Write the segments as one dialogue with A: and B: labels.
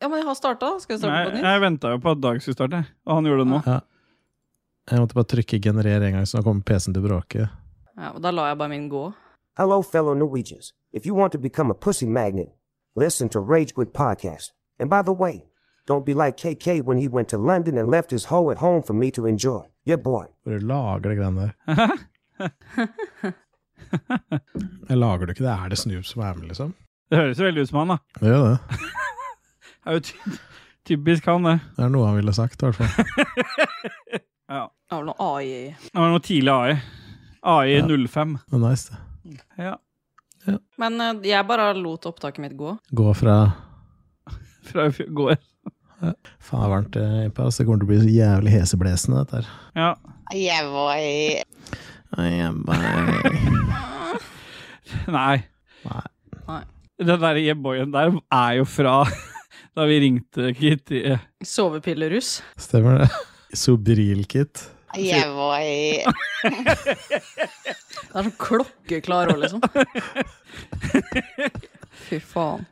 A: Ja, men jeg har starta. Skal vi starte på
B: Nei,
A: nytt?
B: jeg venta jo på at Dag skulle starte, og han gjorde det nå.
C: Ja. Jeg måtte bare trykke 'generer' en gang, så nå kommer PC-en til å bråke.
A: Ja, og da lar jeg bare min gå.
D: Hello, fellow Norwegians. If you want to become a pussy magnet, listen to Rage Quit Podcast. And by the way, don't be like KK when he went to London and left his hoe at home for me to enjoy. Your boy.
C: Bare lager det greiene der. Jeg lager det ikke, det er det Snoop som er med, liksom.
B: Det høres jo veldig ut som han, da.
C: Det gjør det.
B: Det er jo ty typisk han, det.
C: Det er noe han ville sagt, i hvert fall.
B: Ja.
A: Det var noe AI.
B: Det var noe tidlig AI.
C: Ja.
B: AI05.
C: Men nice, det.
B: Ja.
A: Men eh, jeg bare lot opptaket mitt gå.
C: Gå fra
B: Fra i fjor- går.
C: Faen, det er varmt eh, innpå, ass. Det kommer til å bli så jævlig heseblesende, dette her.
B: Ja.
E: Yeah, boy.
C: Ai, jeg bare-
B: Nei.
C: Nei.
A: Nei.
B: Den der e-boyen der er jo fra da vi ringte Kitty.
A: Sovepillerus.
C: Stemmer det. Sobrilkit.
E: Yeah, boy.
A: Det er sånn klokkeklar òg, liksom. Fy faen.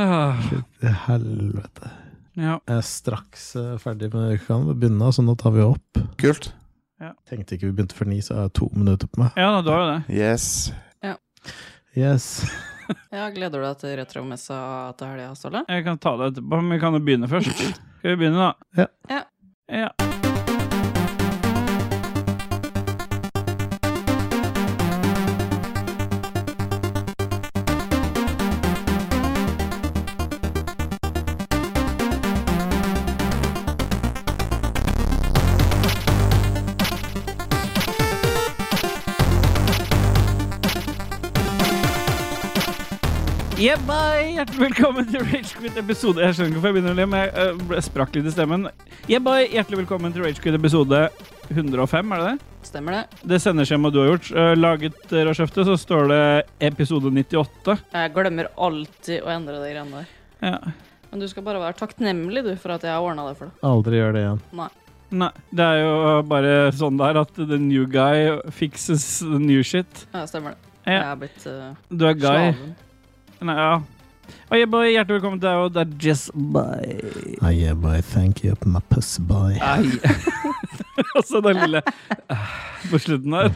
B: Ah,
C: I Helvete.
B: Ja.
C: Jeg er straks eh, ferdig med ukaen. Vi begynner, så nå tar vi opp.
F: Kult.
C: Tenkte ikke vi begynte før ni, så jeg har to minutter på meg.
B: ja, da, du har jo det.
F: Yes.
C: Yes.
A: Ja, gleder du deg til retromessa til helga, Ståle?
B: Jeg kan ta det etterpå, men vi kan jo begynne først. Skal vi begynne, da?
C: Ja.
A: Ja.
B: Ja. Yeah, bye! Hjertelig velkommen til Ragequit episode Jeg skjønner ikke hvorfor jeg begynner å le, men jeg øh, ble- sprakk litt i stemmen. Yeah, bye! Hjertelig velkommen til Ragequit episode 105, er det det?
A: Stemmer det.
B: Det sendeskjemaet du har gjort. øh, laget øh, Rashefte, så står det episode 98.
A: Jeg glemmer alltid å endre de greiene der.
B: Ja.
A: Men du skal bare være takknemlig, du, for at jeg har ordna det for deg.
C: Aldri gjør det igjen.
B: Nei, det er jo øh, bare sånn der at the new guy fixes the new shit.
A: Ja, stemmer det.
B: Ja.
A: Jeg er blitt eh,
B: Du er guy.
A: slaven.
B: Nei, ja. Og yeah, bye! Hjertelig velkommen til deg, og det er Jess Bye.
C: Ah, yeah, boy. Thank you, my pussy boy.
B: Nei. Og så Altså, den lille eh, på slutten der.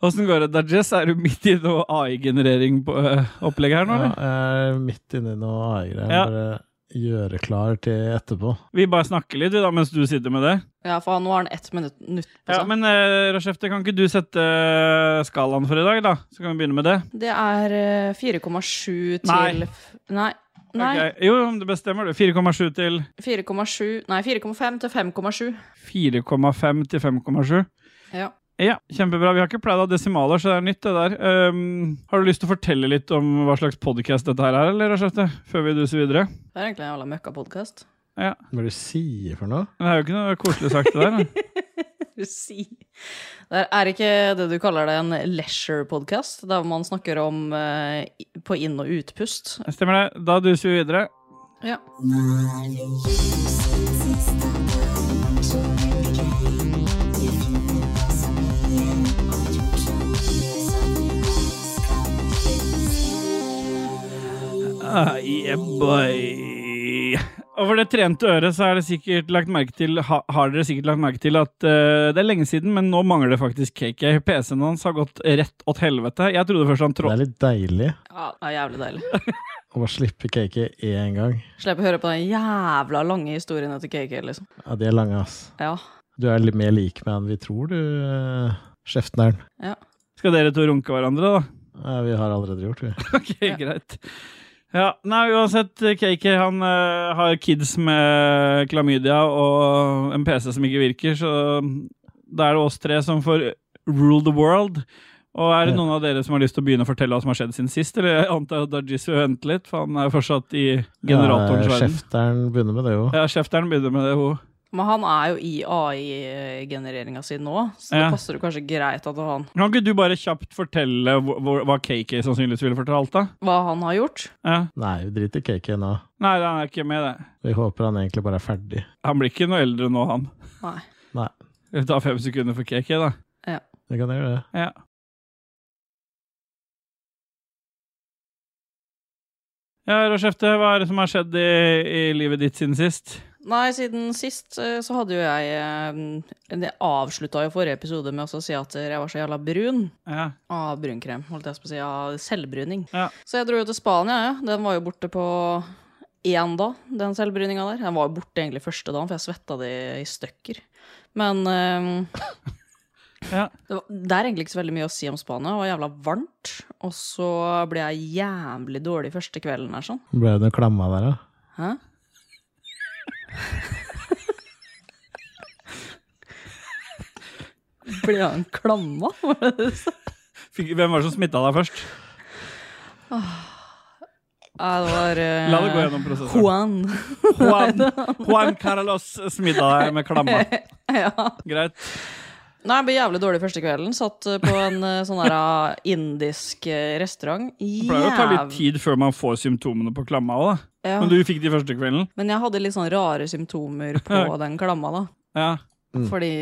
B: Åssen går det, Dajess? Er du midt i noe AI-generering på eh, opplegget her nå,
C: Ja,
B: eller?
C: jeg er midt inni noe AI-greier.
B: Ja.
C: Bare gjøre klar til etterpå.
B: Vi bare snakker litt, vi, da, mens du sitter med det.
A: Ja, faen, nå har han ett minutt nytt på
B: Ja,
A: seg.
B: Men uh, Rashefte, kan ikke du sette eh, skalaen for i dag, da? Så kan vi begynne med det.
A: Det er eh, 4,7
B: Nei.
A: til f- Nei. Nei.
B: Ok. Jo, jo, det bestemmer du. 4,7 til
A: 4,7 Nei, 4,5 til 5,7.
B: 4,5 til 5,7.
A: Ja.
B: Ja, kjempebra. Vi har ikke pleid å ha desimaler, så det er nytt, det der. Ehm, har du lyst til å fortelle litt om hva slags podkast dette her er, eller, Rashefte? Før vi duser videre?
A: Det er egentlig en jævla møkkapodkast.
C: Hva er det du sier for noe?
B: Men Det er jo ikke noe koselig sagt, det der. da.
A: Si. Det er ikke det du kaller det en leisure-podkast, der man snakker om eh, i- på inn- og utpust.
B: Stemmer det. Da duser vi videre.
A: Ja.
B: Ah, yeah, boy. Over det trente øret så er det sikkert lagt merke til, ha, har dere sikkert lagt merke til at eh, det er lenge siden, men nå mangler det faktisk KK. PC-en hans har gått rett åt helvete. Jeg trodde først han
C: Det
B: trådte
C: er litt deilig
A: ja. Det er jævlig deilig.
C: å bare slippe cake én gang.
A: Slipp å høre på den jævla lange historien etter KK, liksom.
C: Ja, de er lange, ass.
A: Ja.
C: Du er litt mer lik meg enn vi tror, du, eh, Skjeftneren.
B: Skal dere to runke hverandre, da?
C: Ja, vi har allerede gjort, vi.
B: Ok, greit. Ja, nei, uansett, KK han eh, har kids med klamydia og en PC som ikke virker, så da er det oss tre som får rule the world. Og er det
C: Ja.
B: noen av dere som har lyst til å begynne å fortelle hva som har skjedd siden sist? Eller jeg antar at Dajis vil vente litt, for han er fortsatt i generatorens
C: Ja,
B: verden.
C: Skjefteren begynner med det, jo.
B: Ja, kjefteren begynner med det, hun.
A: Men han er jo i AI-genereringa si nå, så det
B: Ja.
A: passer jo kanskje greit at han
B: Kan ikke du bare kjapt fortelle hvor- hvor- hva KK sannsynligvis ville fortalt, da?
A: Hva han har gjort.
B: Ja.
C: Nei, vi driter i cake nå.
B: Nei, han er ikke med, det.
C: Vi håper han egentlig bare er ferdig.
B: Han blir ikke noe eldre nå, han.
A: Nei.
C: Nei,
B: Vi tar fem sekunder for KK, da.
C: vi kan gjøre det.
B: Ja. Ja, Rochefte, hva er det som har skjedd i, i livet ditt siden sist?
A: Nei, siden sist eh, så hadde jo jeg eh, Det avslutta jo forrige episode med også å si at jeg var så jævla brun.
B: Ja.
A: Av brunkrem, holdt jeg på å si. Av selvbruning.
B: Ja.
A: Så jeg dro jo til Spania, ja. Den var jo borte på én dag, den selvbruninga der. Den var jo borte egentlig første dagen, for jeg svetta det i stykker. Men eh,
B: Ja.
A: det, var, det er egentlig ikke så veldig mye å si om Spania. Det var jævla varmt. Og så ble jeg jævlig dårlig første kvelden her, sånn.
C: Ble det noe klemma der, da?
A: Hæ? Ble han klamma? Var det det du sa?
B: Fikk, hvem var det som smitta deg først?
A: Nei, det var eh,
B: La det gå gjennom prosessen.
A: Juan.
B: Juan, Juan Carlos smitta deg med klamma.
A: ja.
B: Greit.
A: Nei, jeg ble jævlig dårlig første kvelden. Satt eh, på en eh, sånn der eh, indisk eh, restaurant.
B: Det pleier jo å ta litt
A: Jæv-
B: tid før man får symptomene på klamma òg, da.
A: Ja.
B: Men du fikk de første kvelden?
A: Men jeg hadde litt sånn rare symptomer på den klamma, da.
B: Ja.
C: Mm.
A: Fordi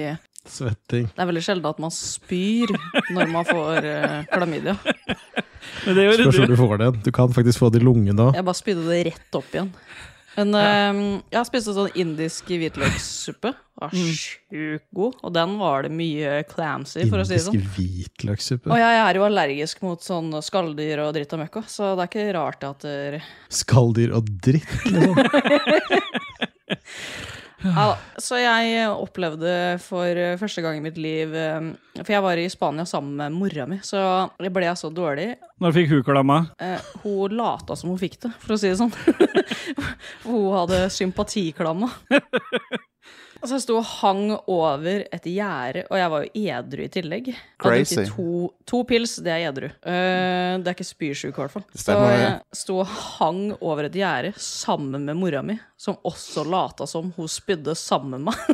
C: Svetting.
A: det er veldig sjelden at man spyr når man får eh, klamydia.
B: Men det
C: Spørs
B: gjorde
C: hvor
B: du.
C: du får den. Du kan faktisk få det i lungen òg.
A: Jeg bare spydde det rett opp igjen. Men eh, jeg spiste sånn indisk hvitløkssuppe. Den Var
C: Mm.
A: sjukt god. Og den var det mye clams i, for å si det
C: Indisk
A: sånn. Og
C: hvitløkssuppe.
A: jeg er jo allergisk mot sånn skalldyr og dritt og møkk òg, så det er ikke rart at dere
C: Skalldyr og dritt, liksom.
A: ja, da. Så jeg opplevde for første gang i mitt liv eh, For jeg var i Spania sammen med mora mi, så ble jeg så dårlig
B: Når fikk hun klamma?
A: Eh, hun lata som hun fikk det, for å si det sånn. hun hadde sympatiklamma. Så jeg sto og hang over et gjerde, og jeg var jo edru i tillegg. Jeg hadde
F: Crazy.
A: drukket To, to pils, det er edru. Eh, det er ikke spysjuk, i hvert fall. Så
F: stemmer, det.
A: jeg sto og hang over et gjerde sammen med mora mi, som også lata som hun spydde sammen med meg.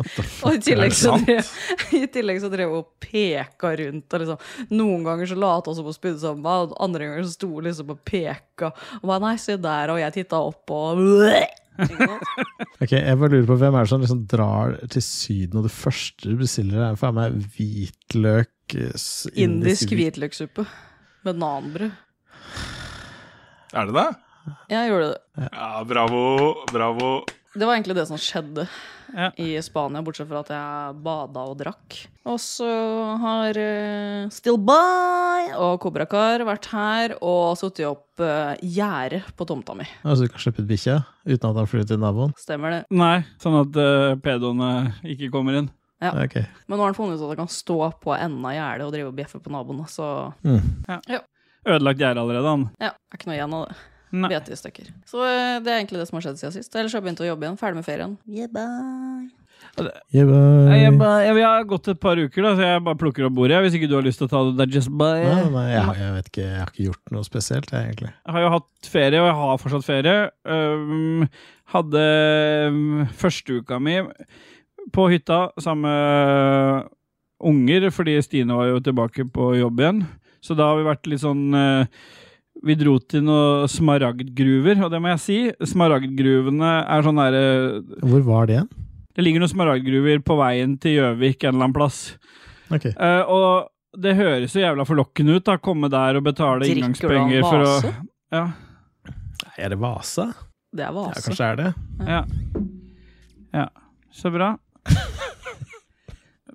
A: Og i tillegg, så drev, I tillegg så drev hun og peka rundt. Og liksom, noen ganger så lata hun som hun spydde sammen med meg, og andre ganger så sto hun liksom og peka. Og bare, nei, se der, og jeg titta opp og
C: Ok, jeg bare lurer på Hvem er det som liksom drar til Syden, og det første du bestiller, er faen meg hvitløk eh, s-
A: Indisk
C: hvit-
A: hvitløkssuppe. Bananbrød.
F: Er det det?
A: Jeg gjorde det.
F: Ja, bravo, bravo.
A: Det var egentlig det som skjedde
B: Ja.
A: i Spania, bortsett fra at jeg bada og drakk. Og så har eh, Still By og Cobra Car vært her og satt opp uh, gjerde på tomta mi.
C: Altså, du kan slippe ut bikkja uten at han flyr til naboen?
A: Stemmer det.
B: Nei, sånn at eh, pedoene ikke kommer inn.
A: Ja.
C: Ok.
A: Men nå har han funnet ut at han kan stå på enden av gjerdet og drive og bjeffe på naboen. da, Så
C: Mm.
B: Ødelagt gjerde allerede, han.
A: ja, det er ikke noe igjen av det.
B: Nei.
A: Vet i stykker. Så eh, det er egentlig det som har skjedd siden sist. Ellers har jeg begynt å jobbe igjen. Ferdig med ferien. Yeah, bye.
C: Yeah,
B: Nei, Jeg,
C: bye.
B: bare, jeg, jeg har gått et par uker, da, så jeg bare plukker opp bordet. jeg, Hvis ikke du har lyst til å ta det. det er just by.
C: Nei, nei, jeg, har- jeg vet ikke, jeg har ikke gjort noe spesielt, jeg, egentlig.
B: Jeg har jo hatt ferie, og jeg har fortsatt ferie. Um, hadde um, første uka mi på hytta sammen med unger, fordi Stine var jo tilbake på jobb igjen. Så da har vi vært litt sånn eh, Vi dro til noen smaragdgruver, og det må jeg si. Smaragdgruvene er sånn derre
C: Hvor var det igjen?
B: Det ligger noen smaragdgruver på veien til Gjøvik en eller annen plass.
C: Ok.
B: Eh, og det høres jo jævla forlokkende ut, da. Komme der og betale
A: Drikker du av
B: inngangspenger for å
A: vase?
B: ja.
C: Er det Vasa?
A: Det er
C: Ja,
A: vase.
C: kanskje det er det.
B: Ja. ja. Så bra.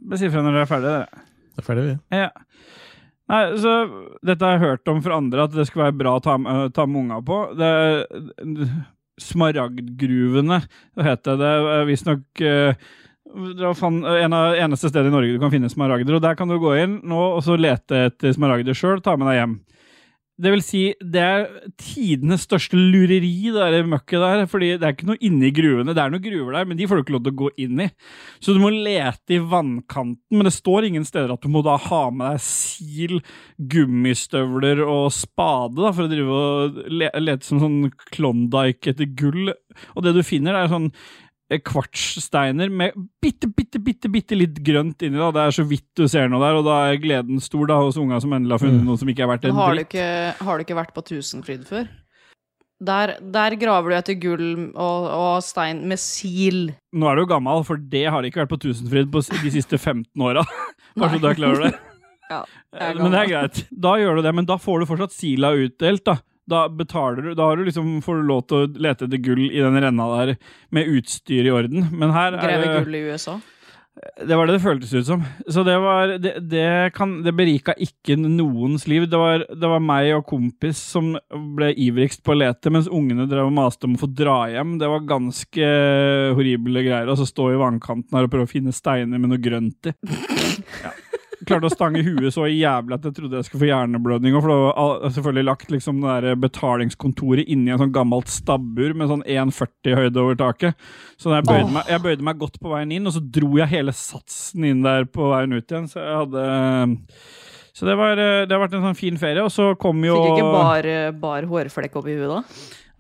B: Bare si ifra når dere er ferdige, dere.
C: Da er ferdig, vi.
B: Ja. Nei, så Dette har jeg hørt om fra andre, at det skulle være bra å ta, med- ta med unga på. Det, smaragdgruvene, heter det eh, visstnok. eh, det var fan- En av eneste stedet i Norge du kan finne smaragder. Og der kan du gå inn nå og så lete etter smaragder sjøl, ta med deg hjem. Det vil si, det er tidenes største lureri, det der møkket der. fordi det er ikke noe inni gruvene. Det er noen gruver der, men de får du ikke lov til å gå inn i. Så du må lete i vannkanten, men det står ingen steder at du må da ha med deg sil, gummistøvler og spade da, for å drive og le lete som sånn Klondyke etter gull. Og det du finner, er sånn eh, kvartssteiner med bitte, bitte, bitte bitte litt grønt inni. da. Det er så vidt du ser noe der, og da er gleden stor da, hos unga som endelig har funnet noe som ikke er verdt
A: Mm. Men
B: en
A: har du,
B: dritt.
A: ikke, har du ikke vært på Tusenfryd før? Der, der graver du etter gull og, og stein med sil.
B: Nå er du jo gammel, for det har det ikke vært på Tusenfryd på s- de siste 15 åra. Bare så du er klar over det. Eh,
A: Ja, jeg er
B: Men det er
A: gammel.
B: greit. Da gjør du det, men da får du fortsatt sila utdelt, da. Da betaler du Da har du liksom, får du lov til å lete etter gull i den renna der med utstyr i orden. Men her er
A: Greve
B: det
A: gull i USA.
B: Det var det det føltes ut som. Så det var Det, det, kan, det berika ikke noens liv. Det var, det var meg og kompis som ble ivrigst på å lete, mens ungene drev og maste om å få dra hjem. Det var ganske horrible greier. Og så stå i vannkanten her og prøve å finne steiner med noe grønt i. Ja. Klarte å stange huet så jævlig at jeg trodde jeg skulle få hjerneblødning. Og for det var al- selvfølgelig lagt liksom det der betalingskontoret inni en sånn gammelt stabbur med sånn 1,40 høyde over taket. Så jeg bøyde, meg, jeg bøyde meg godt på veien inn, og så dro jeg hele satsen inn der på veien ut igjen. Så jeg hadde Så det, var, det har vært en sånn fin ferie. Og så kom jo
A: Fikk ikke bar, bar hårflekk opp i huet da?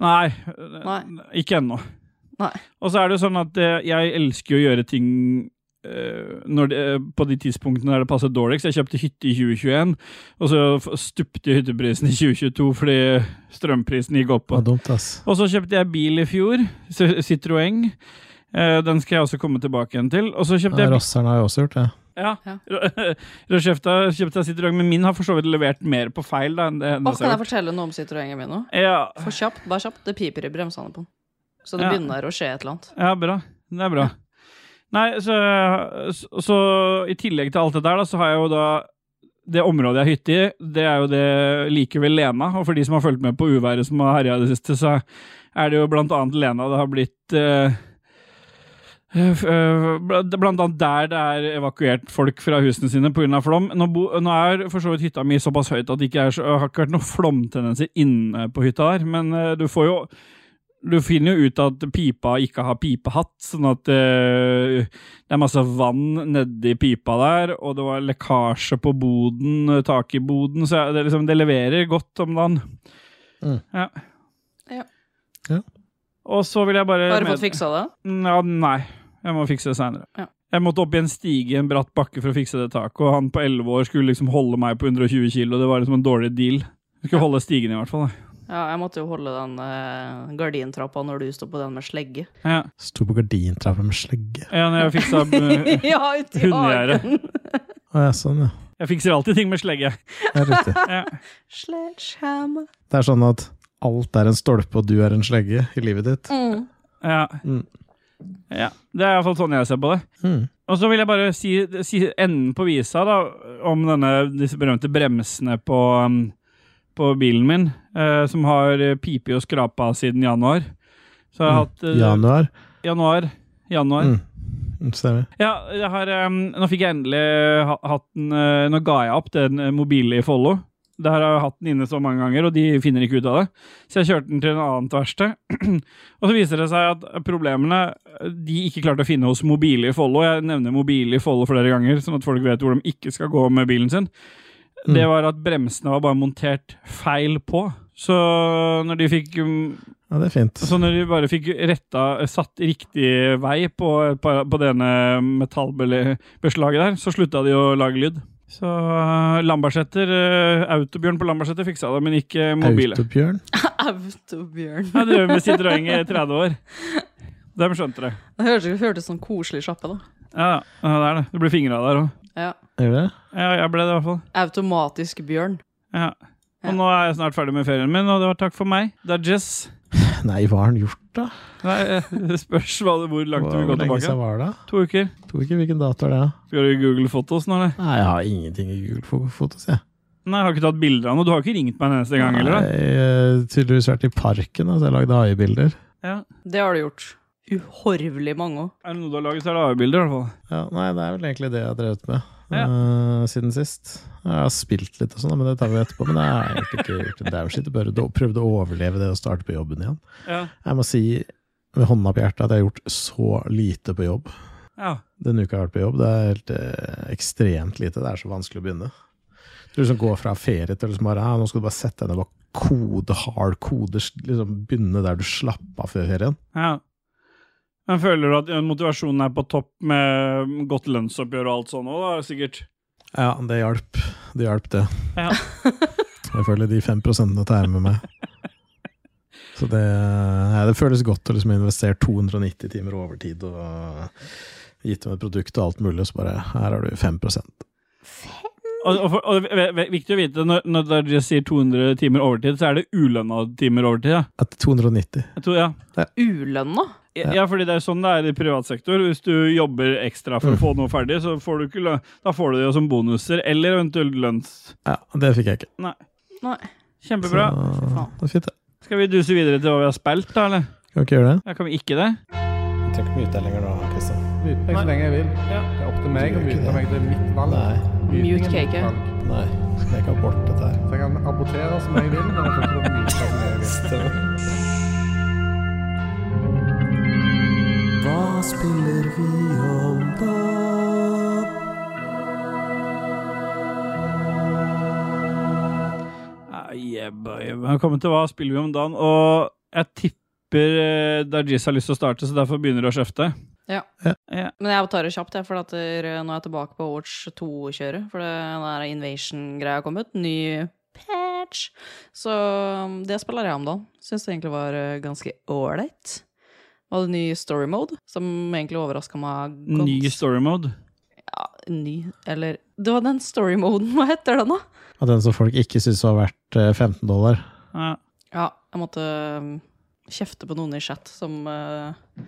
B: Nei,
A: Nei.
B: ikke ennå.
A: Nei.
B: Og så er det jo sånn at eh, jeg elsker jo å gjøre ting eh, når det, eh, på de tidspunktene der det passer dårligst. Jeg kjøpte hytte i 2021, og så f- stupte hytteprisen i 2022 fordi strømprisen gikk opp.
C: Det
B: Og
C: var dumt, ass.
B: og så kjøpte jeg bil i fjor, Cit- Citroën. Eh, Den skal jeg også komme tilbake igjen til. Og så kjøpte
C: Ja,
B: jeg
C: Rosseren har jo også gjort det.
B: ja.
A: Ja.
B: Da kjøpte, jeg- kjøpte jeg Citroën, men min har for så vidt levert mer på feil da, enn
A: Å,
B: det hennes
A: kan jeg
B: har gjort.
A: fortelle noe om Citroën-en min nå?
B: Ja,
A: For kjapt, bare kjapt. Det piper i bremsene på den. Så det
B: Ja.
A: begynner å skje et eller annet.
B: ja, bra. Det er bra. Nei, så, så, så i tillegg til alt det der, da, så har jeg jo da det området jeg har hytte i, det er jo det like ved Lena. Og for de som har fulgt med på uværet som har herja i det siste, så er det jo blant annet Lena det har blitt eh, Eh, f- eh, bl- Blant annet der det er evakuert folk fra husene sine pga. flom. Nå, bo, nå er for så vidt hytta mi såpass høyt at det ikke er så, har ikke vært noen flomtendenser inne på hytta der. Men eh, du får jo Du finner jo ut at pipa ikke har pipehatt, sånn at eh, det er masse vann nedi pipa der, og det var lekkasje på boden, eh, tak i boden, så det, er liksom, det leverer godt om dagen.
C: Mm.
B: Ja.
A: Ja.
C: Ja.
B: Og så vil jeg bare
A: Har du
B: med-
A: fått fiksa det?
B: ja, nei. Jeg må fikse det seinere.
A: Ja.
B: Jeg måtte opp i en stige i en bratt bakke for å fikse det taket, og han på 11 år skulle liksom holde meg på 120 kilo. Det var liksom en dårlig deal. Jeg skulle holde stigen i hvert fall. da.
A: Ja, jeg måtte jo holde den eh, gardintrappa når du sto på den med slegge.
B: Ja,
C: Sto på gardintrappen med slegge.
B: ja når jeg fiksa eh,
A: ja, uti
B: Hundegjerdet.
A: hagen!
C: Å ja, sånn, ja.
B: Jeg fikser alltid ting med slegge.
C: Det er riktig.
B: Ja.
A: Sledgehammer.
C: Det er sånn at alt er en stolpe, og du er en slegge i livet ditt.
A: Mm.
B: Ja.
C: Mm.
B: ja. Det er iallfall sånn jeg ser på det.
C: Mm.
B: Og så vil jeg bare si, si enden på visa da, om denne, disse berømte bremsene på, um, på bilen min, eh, som har eh, pipet og skrapa siden januar. Så jeg har
C: Mm.
B: hatt eh,
C: Januar.
B: januar. Januar.
C: Mm. Stemmer.
B: Ja, jeg har, um, nå fikk jeg endelig ha, hatt den eh, Nå ga jeg opp den eh, mobile i Follo. Det her har jeg hatt den inne så mange ganger, og de finner ikke ut av det. Så jeg kjørte den til en annet verksted. og så viser det seg at problemene eh, de ikke klarte å finne hos Mobile i Follo Jeg nevner Mobile i Follo flere ganger, sånn at folk vet hvor de ikke skal gå med bilen sin. Det var at bremsene var bare montert feil på. Så når de fikk um,
C: Ja, det er fint.
B: så når de bare fikk retta, satt riktig vei på, på, på denne metallbeslaget der, så slutta de å lage lyd. Så uh, Lambertseter, eh, Autobjørn på Lambertseter fiksa det, men ikke mobile.
C: Autobjørn.
A: Autobjørn.
B: Jeg drev med Citroën i 30 år. De skjønte det.
A: Det hørtes ut hørtes sånn koselig sjappe, da.
B: Ja, ja, det er det. Det blir fingra der òg.
A: Ja.
C: Gjør det?
B: Ja, jeg ble det i hvert fall.
A: Automatisk bjørn.
B: Ja.
A: Ja.
B: Og nå er jeg snart ferdig med ferien min, og det var takk for meg. Det er Jess.
C: Nei, hva har han gjort, da?
B: Nei, eh, det spørs hva det, hvor langt du vil
C: Hvor
B: gå
C: lenge siden
B: tilbake.
C: var det?
B: To uker.
C: Tror ikke hvilken dato er det. da?
B: Skal du google fotos nå, eller?
C: Nei, jeg har ingenting i Google for fotos, jeg.
B: Nei, jeg har ikke tatt bilder av noe. Du har ikke ringt meg en eneste gang, eller?
C: Nei, jeg har tydeligvis vært i parken, altså. Jeg lagde AI-bilder.
B: Ja.
A: Det har du gjort. Uhorvelig mange òg.
B: Er det noe du har laget, så er det AI-bilder, i hvert fall.
C: Ja, nei, det er vel egentlig det jeg har drevet med
B: Ja.
C: eh, siden sist. Jeg har spilt litt og sånn, men det tar vi etterpå. Men jeg har egentlig ikke gjort en damn shit. Jeg Bare do- prøvde å overleve det å starte på jobben igjen.
B: Ja.
C: Jeg må si med hånda på hjertet at jeg har gjort så lite på jobb.
B: ja.
C: Denne uka jeg har vært på jobb, det er helt eh, ekstremt lite. Det er så vanskelig å begynne. Du liksom går fra ferie til liksom bare, ja, nå skal du bare sette deg ned og bare kode hard kode, liksom begynne der du slapp av før ferien.
B: ja. Men føler du at eh, motivasjonen er på topp med mm, godt lønnsoppgjør og alt sånt òg, da, sikkert?
C: Ja, det hjalp. Det hjalp, det.
B: Ja.
C: Jeg føler de fem prosentene tar jeg med meg. Så det, nei, det føles godt å liksom investere 290 timer overtid og gitt dem et produkt og alt mulig, og så bare Her har du 5
B: Å, og, og, for- og, ve- ve- viktig å vite, når, når dere sier 200 timer overtid, så er det ulønna timer overtid. Ja.
C: Etter 290.
B: Jeg tror, ja.
A: Ulønna?
B: Ja, ja, fordi det er sånn det er i privat sektor. Hvis du jobber ekstra for å få noe ferdig, så får du ikke lønn. Da får du det jo som bonuser, eller eventuelt lønns...
C: Ja, det fikk jeg ikke.
B: Nei.
A: Nei.
B: Kjempebra.
C: Så, det er fint, det.
B: Skal vi duse videre til hva vi har spilt, da, eller?
C: Kan vi ikke gjøre det?
B: Ja, kan vi ikke det?
C: Jeg trenger ikke mute deg lenger nå, Kristian.
G: Mute meg så lenge jeg vil.
B: Ja.
G: Det er opp til meg å
C: Du gjør ikke
G: mute
C: det.
G: meg. Det er mitt valg.
C: Nei,
G: Mutingen
A: Mute
G: er mitt
A: cake.
G: valg.
C: nei. Det er ikke abort, dette her.
G: Så jeg kan abortere som jeg vil, men jeg får ikke lov å mute som jeg vil.
B: Ah, yeah, boy. Velkommen til Hva spiller vi om dagen? Og jeg tipper eh, Dargis har lyst til å starte, så derfor begynner du å kjefte.
A: Men jeg tar det kjapt, jeg, for at der, nå er jeg tilbake på Watch 2-kjøret. For det den der Invasion-greia kom ut. Ny patch. Så um, det spiller jeg om dagen. Syns det egentlig var eh, ganske ålreit. Og hadde ny story mode, som egentlig overraska meg godt.
B: Ny story mode.
A: Ja, ny, eller Det var den story moden, hva heter den, da?
C: At den som folk ikke syns var verdt eh, 15 dollar.
B: Ja.
A: Ja, jeg måtte um, kjefte på noen i chat som eh,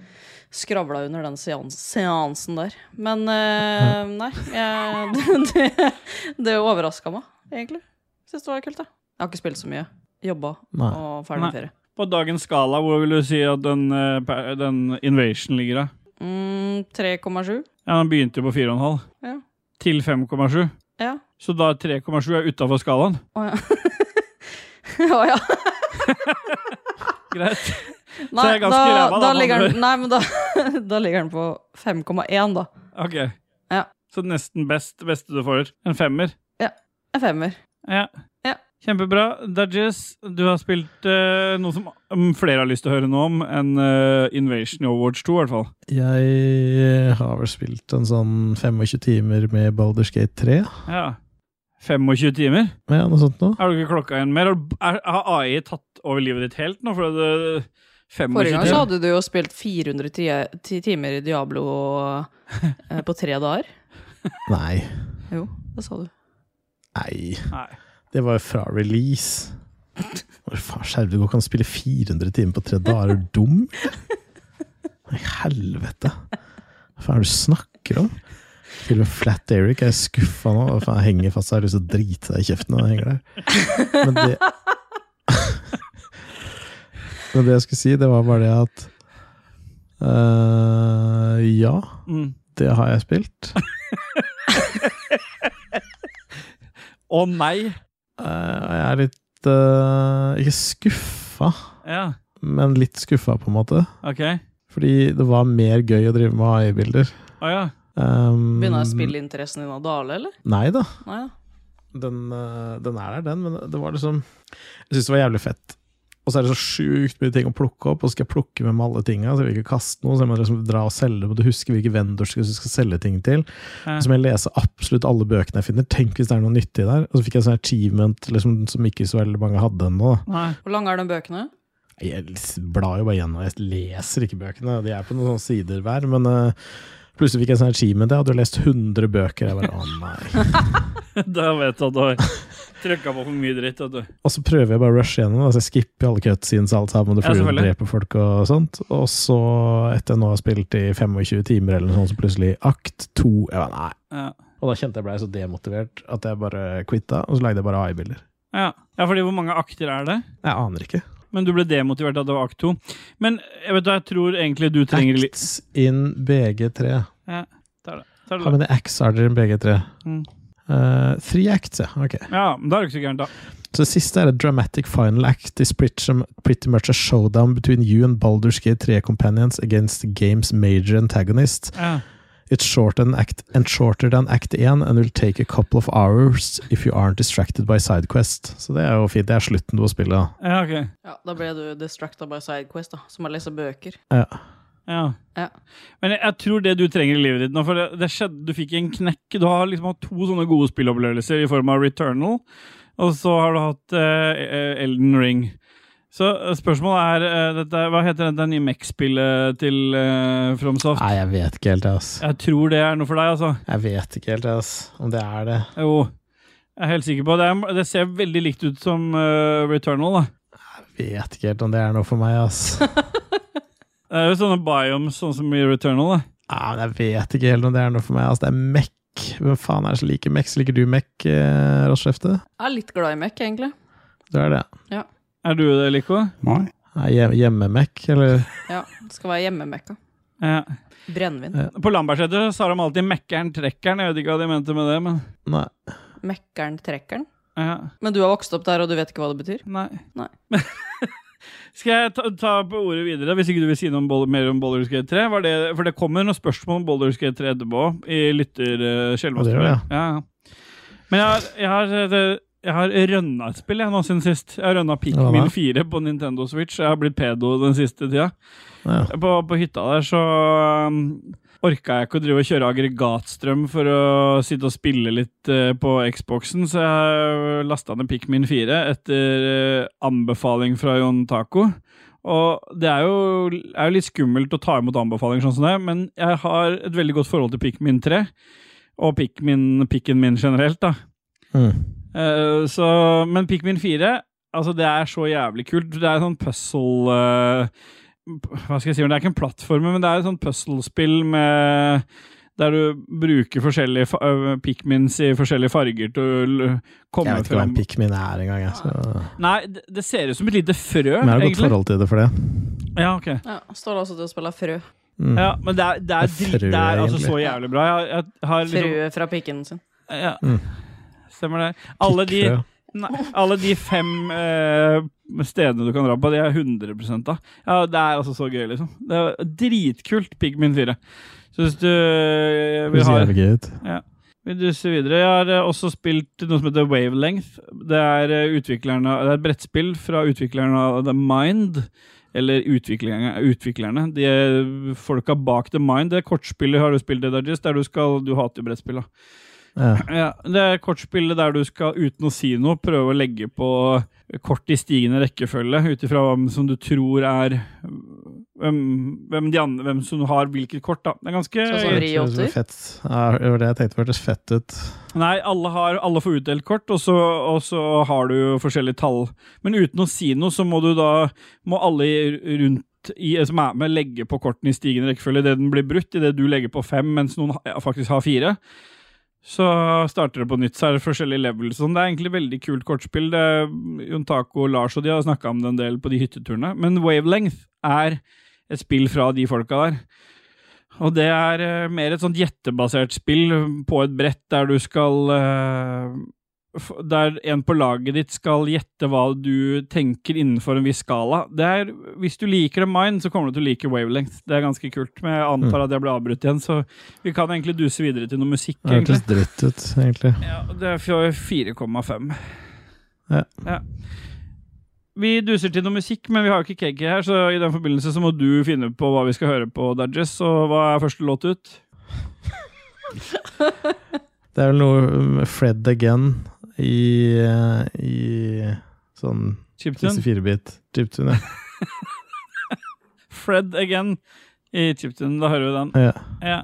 A: skravla under den seans seansen der. Men eh, nei, jeg, det, det overraska meg, egentlig. Syns det var kult, jeg. Jeg har ikke spilt så mye. Jobba
C: Nei.
A: og ferdig
B: Nei.
A: med ferie.
B: På dagens skala, hvor vil du si at den, eh, pa- den Invasion ligger, da?
A: Mm, 3,7.
B: Ja, Den begynte jo på 4,5.
A: Ja.
B: Til 5,7.
A: Ja.
B: Så da 3,7 er utafor skalaen.
A: Å ja. Å ja.
B: Greit.
A: Nei,
B: jeg er ganske
A: da,
B: ræva, da,
A: da,
B: med
A: ligger
B: andre
A: den, nei, men da, da ligger den på 5,1, da.
B: Ok.
A: Ja.
B: Så nesten best, beste du får. En femmer.
A: En femmer.
B: Ja.
A: Ja.
B: Kjempebra. Dudges, du har spilt eh, noe som mm, flere har lyst til å høre noe om enn eh, Invasion i Overwatch 2, i hvert fall.
C: Jeg har vel spilt en sånn 25 timer med Baldur's Gate 3.
B: Ja. 25 timer?
C: Ja, noe sånt noe.
B: Har du ikke klokka igjen mer? Er, har AI tatt over livet ditt helt nå? For eh, det, 25
A: Forrige gang så
B: timer.
A: hadde du jo spilt 400 ti- ti timer i Diablo eh, på tre dager.
C: Nei.
A: Jo, det sa du.
C: Nei.
B: Nei.
C: Det var jo fra release. Hvor faen skjerper du deg? Kan du spille 400 timer på tre dager? Er du dum? I helvete. Hva faen er det du snakker om? Til og med Flat Eric er skuffa nå. Hva faen, jeg henger fast. Jeg har lyst til å drite deg i kjeften når jeg henger der. Men det Men det jeg skulle si, det var bare det at øh, Ja,
B: Mm.
C: det har jeg spilt.
B: Å nei!
C: Eh, og jeg er litt øh, Ikke skuffa.
B: Ja,
C: men litt skuffa, på en måte.
B: ok.
C: Fordi det var mer gøy å drive med AI-bilder.
B: Å ja.
C: Um,
A: Begynner spilleinteressen din å dale, eller?
C: Nei da.
A: Nei da.
C: Den, eh, den er der, den, men det var liksom Jeg syns det var jævlig fett. Og så er det så sjukt mye ting å plukke opp, og så skal jeg plukke med meg alle tinga. Så jeg vil ikke kaste noe, så jeg må liksom dra og selge, og du husker hvilke vendors du skal selge ting til.
B: Ja.
C: Så må jeg lese absolutt alle bøkene jeg finner. Tenk hvis det er noe nyttig der. Og så fikk jeg sånn achievement liksom, som ikke så veldig mange hadde ennå. da.
B: Nei.
A: Hvor lange er de bøkene?
C: Jeg blar jo bare gjennom, jeg leser ikke bøkene. De er på noen sånne sider hver, men eh, plutselig fikk jeg en sånn achievement. Jeg hadde jo lest 100 bøker. Jeg bare, å nei.
B: Da vet du at du har trykka på for mye dritt. Vet du.
C: Og så prøver jeg bare å rushe gjennom, altså jeg skipper jo alle cutscenes og alt sammen, og
B: Ja,
C: flyr og
B: selvfølgelig.
C: dreper folk og sånt. Og så, etter nå å ha spilt i 25 timer eller noe sånt, så plutselig akt to. Jeg bare, nei.
B: Ja.
C: Og da kjente jeg ble så demotivert at jeg bare quitta, og så lagde jeg bare AI-bilder.
B: Ja. ja, fordi hvor mange akter er det?
C: Jeg aner ikke.
B: Men du ble demotivert av det var akt to. Men jeg vet du, jeg tror egentlig du trenger litt
C: Acts in BG3.
B: Ta det
C: How
B: langt.
C: many acts are there in BG3?
B: Mm.
C: Eh, three acts, ja. Ok.
B: Ja, men da er det ikke så gærent, da.
C: Så det siste er a dramatic final act is pretty pretty much a showdown between you and Baldur's Gate 3 companions against the game's major antagonist.
B: Ja.
C: It's shorter than act, and shorter than act 1 and will take a couple of hours if you aren't distracted by sidequest. Så det er jo fint. Det er slutten på spillet. da.
B: Ja, ok.
A: Ja, Da ble du distracted by Sidequest, da, som har lest bøker.
B: Ja.
A: Ja.
B: Men jeg, jeg tror det du trenger i livet ditt nå, for det, det skjedde, du fikk en knekk. Du har liksom hatt to sånne gode spillopplevelser i form av Returnal, og så har du hatt eh, Elden Ring. Så eh, spørsmålet er eh, dette, Hva heter dette nye Mex-spillet til eh, FromSoft?
C: Nei, jeg vet ikke helt, ass.
B: Jeg tror det er noe for deg, altså.
C: Jeg vet ikke helt, ass, om det er det.
B: Jo. Jeg er helt sikker på det. er- Det ser veldig likt ut som eh, Returnal. da.
C: Vet ikke helt om det er noe for meg, ass.
B: Det er jo sånne biomes, sånn som i Returnal. da.
C: Ja, men jeg vet ikke helt om det er noe for meg. Altså, det er Mek. Hvem faen er det som liker Mek? Liker du Mek, eh, Rossskjefte?
A: Jeg er litt glad i mekk, egentlig.
C: Du er det.
B: Er du det, Lico?
H: Nei.
C: Ja, hjem- Hjemme-Mek, eller?
A: Ja, det skal være hjemmemekka.
B: Ja.
A: Brennevin.
B: På Lambertseter så har de alltid Mekkeren trekkeren. Jeg vet ikke hva de mente med det, men
C: Nei.
A: Mekkeren trekkeren.
B: ja.
A: Men du har vokst opp der, og du vet ikke hva det betyr?
B: Nei.
A: Nei.
B: Skal jeg ta, ta på ordet videre, hvis ikke du vil si noe om, Bal- mer om Baldur's Gate 3? Var det, for det kommer noen spørsmål om Baldur's Gate 3 etterpå, i
C: Ja, det
B: lytterskjelvmassen.
C: gjør det, ja.
B: ja, ja. Men jeg har, jeg har, eh, det- jeg har rønna et spill jeg nå siden sist. Jeg har rønna
C: Hva
B: Pikmin
C: da?
B: 4 på Nintendo Switch. Jeg har blitt pedo den siste tida.
C: Ja.
B: På, på hytta der så um, orka jeg ikke å drive og kjøre aggregatstrøm for å sitte og spille litt eh, på Xboxen, så jeg lasta ned Pikmin 4 etter eh, anbefaling fra Jon Taco. Og det er jo, er jo litt skummelt å ta imot anbefalinger sånn som det, men jeg har et veldig godt forhold til Pikmin 3, og Pikmin, pikken min generelt, da.
C: Mm.
B: Eh, så, men Pikmin 4, altså det er så jævlig kult. Det er sånn puzzle eh, p- Hva skal jeg si? men Det er ikke en plattform, men det er et sånt puzzlespill med der du bruker forskjellige fa øh, Pikmins i forskjellige farger til å l-
C: Jeg
B: komme
C: vet ikke hva
B: fram.
C: en pikmin er engang. jeg, så-
B: Nei, det, det ser ut som et lite frø,
C: Men jeg har et godt
B: egentlig.
C: forhold til det for det.
B: Ja, ok.
A: Ja, Står altså til å spille frø.
C: Mm.
B: Ja, men det er, det er,
C: Det er
B: drit- det
C: frø,
B: er altså
C: egentlig.
B: så jævlig bra. Jeg, jeg har liksom,
A: Frø fra pikken sin.
B: ja,
C: Mm.
B: stemmer det. Alle de,
C: Pikkfrø.
B: Nei, alle de fem eh, stedene du kan dra på, de er 100 av. Ja, det er altså så gøy, liksom. Det er dritkult, Pigmin 4. Så hvis du eh,
C: Det
B: vil,
C: ser
B: ha,
C: jævlig gøy ut.
B: vil dusse videre Jeg har eh, også spilt noe som heter Wavelength. Det er, eh, utviklerne, det er et brettspill fra utviklerne av The Mind. Eller utviklerne, utviklerne. De er eh, folka bak The Mind. Det kortspillet har du spilt, Edagis, der du skal Du hater jo brettspill, da.
C: Ja.
B: Ja, det er kortspillet der du skal, uten å si noe, prøve å legge på kort i stigende rekkefølge, ut ifra hvem som du tror er hvem, hvem, de andre, hvem som har hvilket kort, da. Det er ganske
A: Sånn som
C: Det ser ut som
A: vriåter.
C: Fett. Ja, det var det jeg tenkte hørtes fett ut.
B: Nei, alle, har, alle får utdelt kort, og så, og så har du jo forskjellige tall. Men uten å si noe, så må du da Må alle i- rundt i, som er med, legge på kortene i stigende rekkefølge idet den blir brutt, idet du legger på fem, mens noen ha- faktisk har fire. Så starter det på nytt, så er det forskjellige levels. og Sånn. Det er egentlig veldig kult kortspill. Det, Jon Taco og Lars og de har snakka om det en del på de hytteturene. Men Wavelength er et spill fra de folka der. Og det er eh, mer et sånt gjettebasert spill på et brett der du skal eh, f- Der en på laget ditt skal gjette hva du tenker innenfor en viss skala. Det er, hvis du liker The Mind, så kommer du til å like Wavelength. Det er ganske kult. Men jeg antar at jeg ble avbrutt igjen, så vi kan egentlig duse videre til noe musikk.
C: Det
B: egentlig.
C: hørtes dritt ut, egentlig.
B: Ja, det er fra 4,5.
C: Ja.
B: Vi duser til noe musikk, men vi har jo ikke KK her, så i den forbindelse så må du finne på hva vi skal høre på, Dodges. Og hva er første låt ut?
C: Det er vel noe med Fred again i, eh, i sånn
B: Chiptune?
C: 64-bit chiptune. ja.
B: Fred again i Chiptune. Da hører vi den.
C: Ja.
B: Ja.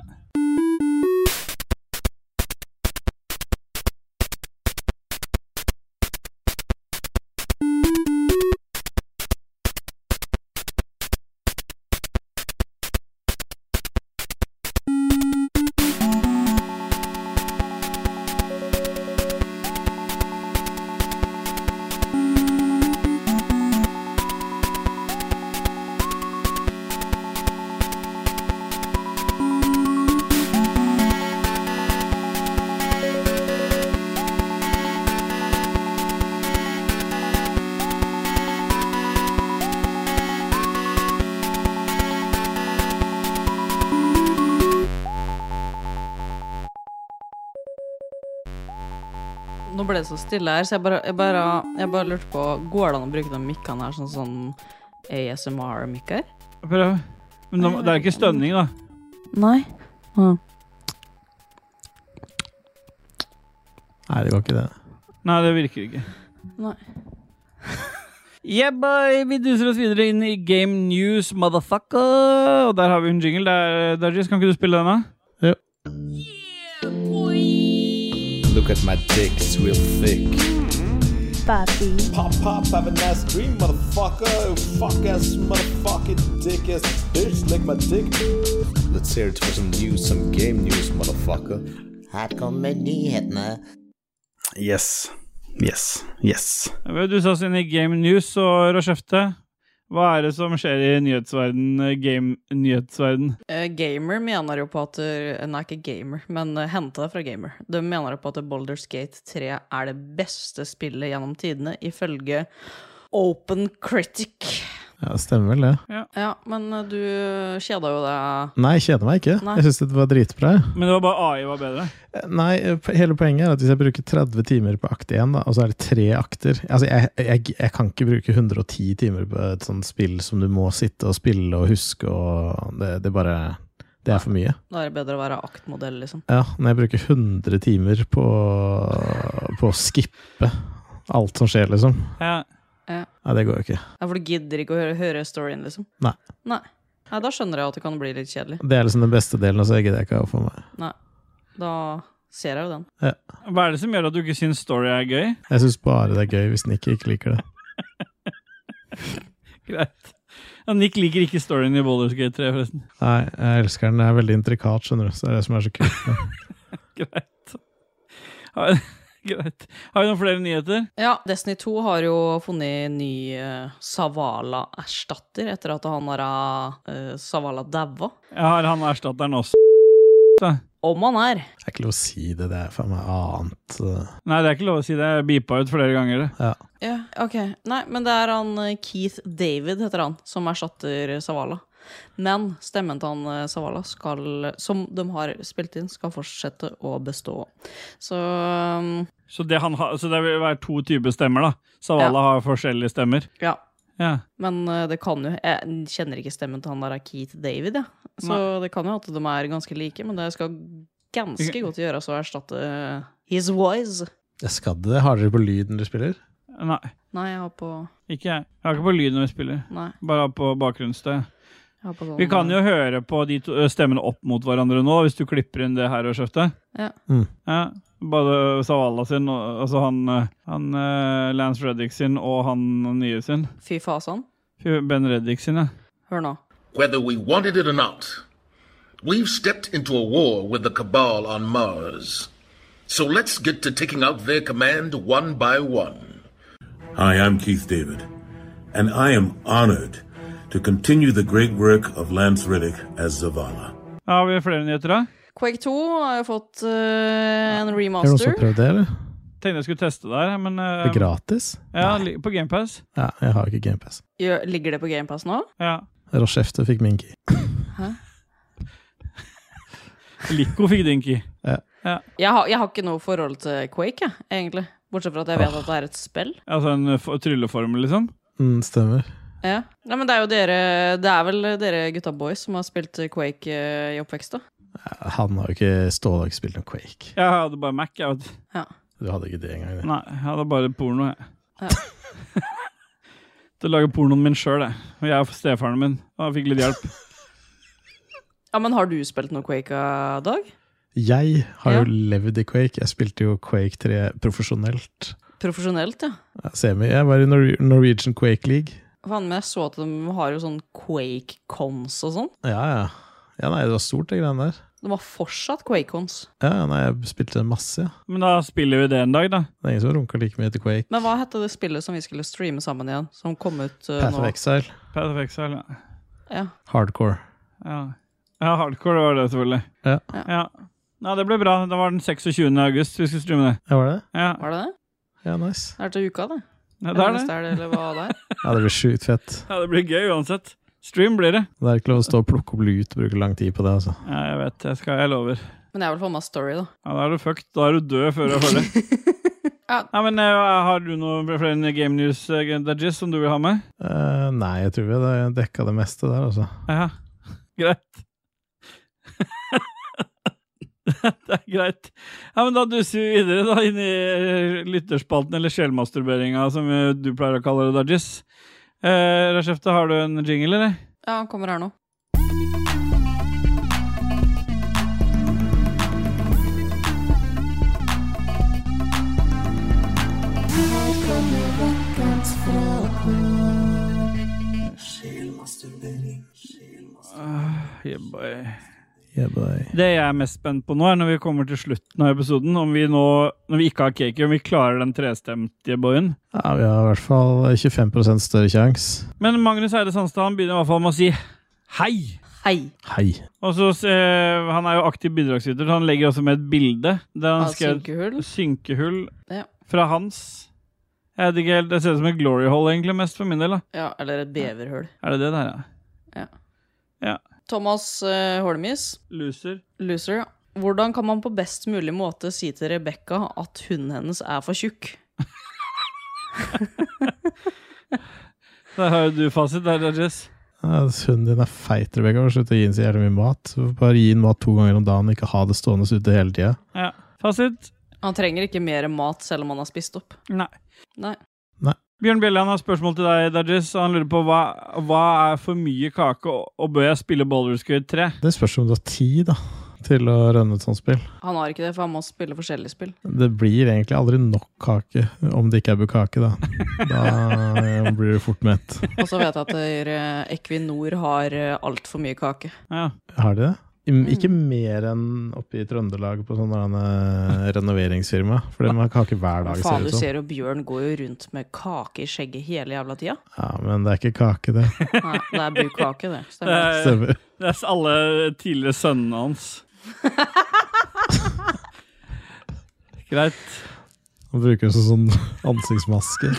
A: Nå ble det så stille her, så jeg bare, jeg bare, jeg bare lurte på Går det an å bruke de mikkene her sånn sånn ASMR-mikker?
B: Prøv. Men da- det er ikke stønning, da.
A: Nei.
C: Nei, det går ikke, det.
B: Nei, det virker ikke.
A: Nei.
B: Yeah, boy! Vi duser oss videre inn i Game News, motherfucker! Og der har vi en jingle. Der, Dodges, kan ikke du spille den, da?
I: The
H: Look at my dick, it's real thick.
I: Papi.
H: Pop, pop, have a nice dream, motherfucker. Fuck ass, motherfucking dick ass bitch, lick my dick. Let's hear it for some news, some game news, motherfucker.
E: Her kommer nyhetene.
H: Yes. Yes. Yes.
B: Du sa oss inn i Game News og Rochefte. Hva er det som skjer i nyhetsverden, eh, game nyhetsverden?
A: Eh, Gamer mener jo på at eh, Nei, ikke gamer, men eh, hente det fra gamer. De mener jo på at Boulders Gate 3 er det beste spillet gjennom tidene, ifølge Open Critic.
C: Ja, det stemmer vel det.
A: Ja, men eh, du kjeda jo deg
C: Nei, jeg kjeder meg ikke.
A: Nei.
C: Jeg syns det var dritbra. jeg.
B: Men det var bare AI var bedre.
C: Eh, Nei, eh, p- hele poenget er at hvis jeg bruker 30 timer på akt 1, da, og så er det tre akter Altså, jeg, jeg, jeg kan ikke bruke 110 timer på et sånt spill som du må sitte og spille og huske og Det, det bare Det er for mye.
A: Da er det bedre å være aktmodell, liksom.
C: Ja, når jeg bruker 100 timer på, på å skippe alt som skjer, liksom.
B: Ja.
C: Nei, det går jo ikke.
A: Ja, For du gidder ikke å høre, høre storyen, liksom?
C: Nei.
A: Nei. Nei, Da skjønner jeg at det kan bli litt kjedelig.
C: Det er liksom den beste delen, og så gidder jeg ikke å ha for meg.
A: Nei. Da ser jeg jo den.
B: Hva er det som gjør at du ikke syns story er gøy?
C: Jeg syns bare det er gøy hvis Nick ikke liker det.
B: Greit. Ja, Nick liker ikke storyen i Boulders Gate 3, forresten.
C: Nei, jeg elsker den. Den er veldig intrikat, skjønner du. Så det er det som er så kult. med den.
B: Greit. Har, greit. Har vi noen flere nyheter?
A: Ja, Destiny 2 har jo funnet ny eh, Savala-erstatter etter at han der eh, Savala daua.
B: Jeg har han erstatteren også. Da.
A: Om han er!
C: Det er ikke lov å si det, det er faen meg annet. eh,
B: Nei, det er ikke lov å si det. Jeg beepa ut flere ganger. det.
C: Ja.
A: Ja, ok. Nei, men det er han eh, Keith David, heter han, som erstatter Savala. Men stemmen til han eh, Savala, skal, som de har spilt inn, skal fortsette å bestå. Så um,
B: Så det, han har- så det vil være to typer stemmer, da. Savala har forskjellige stemmer.
A: ja.
B: Ja.
A: Men eh, det kan jo Jeg kjenner ikke stemmen til han der Keith David, jeg. Så det kan jo at de er ganske like, men det skal ganske godt gjøres å erstatte his voice.
C: Jeg skal det. Har dere på lyd når dere spiller?
B: Nei,
A: Nei, jeg har på
B: ikke jeg. Jeg har ikke på lyd når vi spiller.
A: Nei.
B: Bare på bakgrunnsstøy.
A: Jeg har på sånn,
B: Vi kan jo høre på de to stemmene opp mot hverandre nå, hvis du klipper inn det her og kjøpte.
A: Ja.
C: Mm.
B: Ja, Både Savala sin, og- altså han, eh, han eh, Lance Reddick sin, og han nye sin.
A: Fy fasan.
B: Fy, Ben Reddick sin, ja.
A: Hør nå.
J: Whether we wanted it or not, we've stepped into a war with the Cabal on Mars. So let's get to taking out their command one by one.
K: Hi, I'm Keith David, and I am honored to continue the great work of Lance Riddick as Zavala.
B: Ja, Har vi flere nyheter, da?
A: Quake 2 har jo fått eh, en
C: Er det noen som
A: remaster.
C: har prøvd det, eller?
B: Tenkte jeg skulle teste der, men eh,
C: Det er gratis?
B: ja, li- På GamePass.
C: Ja, jeg har ikke GamePass.
A: Gjør- Ligger det på GamePass nå?
B: Ja.
C: Rochefte fikk min key.
B: Lico fikk din key.
A: Jeg har, jeg har ikke noe forhold til Quake, jeg, egentlig. Bortsett fra at jeg vet at det er et spill.
B: Altså en eh, for- trylleformel, liksom.
C: Mm, stemmer.
A: Ja. Nei, men det er jo dere Det er vel dere gutta boys som har spilt Quake eh, i oppvekst, da?
C: Han har jo ikke Ståle har ikke spilt noen Quake.
B: Jeg hadde bare Mac. Jeg vet.
C: Du hadde ikke det engang. det.
B: Nei, jeg hadde bare porno. jeg.
A: Ja.
B: Til å lage pornoen min sjøl, jeg. Og jeg og stefaren min. Og jeg fikk litt hjelp.
A: Ja, men har du spilt noe Quake, eh, Dag?
C: Jeg har jo
A: Ja.
C: levd i Quake. Jeg spilte jo Quake 3 profesjonelt.
A: Profesjonelt, ja.
C: Ja, Semi. Jeg var i Nor Norwegian Quake League.
A: Faen, men jeg så at de har jo sånn Quake-cons og sånn.
C: Ja, ja. Ja, nei, det var stort, det greiene der.
A: De har fortsatt Quake-cons.
C: Ja, ja, nei, jeg spilte masse, ja.
B: Men da spiller vi det en dag, da.
C: Det er ingen som runker like mye til Quake.
A: Men hva hette det spillet som vi skulle streame sammen igjen, som kom ut eh,
C: Path of
A: nå?
C: Exile.
B: Path of Exile. Ja.
A: Ja.
C: Hardcore.
B: Ja. ja, hardcore var det, selvfølgelig.
C: Ja.
B: ja. Ja, det ble bra. Det var den 26. august vi skulle streame det.
C: Ja, var det det?
B: Ja,
A: Var det det?
C: Ja, nice.
A: Det er til uka, det.
B: ja det er
A: Neste
B: det.
A: er det, eller hva det er.
C: Ja, det blir sjukt fett.
B: Ja, det blir gøy uansett. Stream blir det.
C: Det er ikke lov å stå og plukke opp lut og bruke lang tid på det, altså.
B: Ja, jeg vet. Jeg, skal, jeg lover.
A: Men jeg vil få meg story, da.
B: Ja, Da er du fucked. Da er du død før du er ferdig.
A: Ja.
B: Nei, men eh, Har du noe flere game news eh, Dajis, som du vil ha med?
C: Eh, nei, jeg tror vi har dekka det meste der, altså.
B: Ja, greit. det er greit. Ja, men Da duser vi videre da inn i eh, lytterspalten, eller sjelmasturberinga, som eh, du pleier å kalle det, Dajis. Eh, Rashefte, har du en jingle, eller?
A: Ja, han kommer her nå.
B: Ah, yeah, boy.
C: Yeah, boy.
B: Det jeg er mest spent på nå, er når vi kommer til slutten av episoden, om vi nå, når vi ikke har cake, om vi klarer den trestemte boyen.
C: Ja, vi har i hvert fall 25 større sjanse.
B: Men Magnus Eide Sandstad han begynner i hvert fall med å si hei.
A: Hei.
C: Hei.
B: Og så, eh, Han er jo aktiv bidragsyter, så han legger også med et bilde. Der han
A: Av
B: skrev-
A: synkehull?
B: Synkehull
A: Ja.
B: fra hans. Jeg vet ikke helt, Det ser ut som et glory hole, egentlig, mest for min del. da.
A: Ja, eller et beverhull.
B: Er det det der, ja?
A: Thomas eh, Holmis.
B: Loser.
A: Loser, ja. Hvordan kan man på best mulig måte si til Rebekka at hunden hennes er for tjukk?
B: Der har jo du fasit der, Rajesh.
C: Ja, Hunden din er feit, Rebekka. Slutt å gi den så jævlig mye mat. Bare gi den mat to ganger om dagen, ikke ha det stående ute hele tida.
B: Ja. Fasit?
A: Han trenger ikke mer mat selv om han har spist opp.
B: Nei.
A: Nei.
B: Bjørn Bjelland har spørsmål til deg, Dajis. Han lurer på hva, hva er for mye kake, og, og bør jeg spille Baldur's Gate 3?
C: Det spørs om du har tid da, til å rønne et sånt spill.
A: Han har ikke det, for han må spille forskjellige spill.
C: Det blir egentlig aldri nok kake, om det ikke er bukake, da. Da blir du fort mett.
A: Og så vet jeg at dere, Equinor har eh, altfor mye kake.
B: Ja.
C: Har de det?
A: Mm.
C: Im- Ikke mer enn oppe i Trøndelag på sånne derne renoveringsfirma. For de har kake hver dag,
A: Faen, du
C: ser det ut som.
A: ser jo Bjørn går jo rundt med kake i skjegget hele jævla tida.
C: Ja, men det er ikke kake, det.
A: Nei, det er bukake, det.
B: Det
A: Stemmer.
B: er-
C: Stemmer.
B: Det er alle tidligere sønnene hans. Greit.
C: Han bruker det som sånn ansiktsmaske.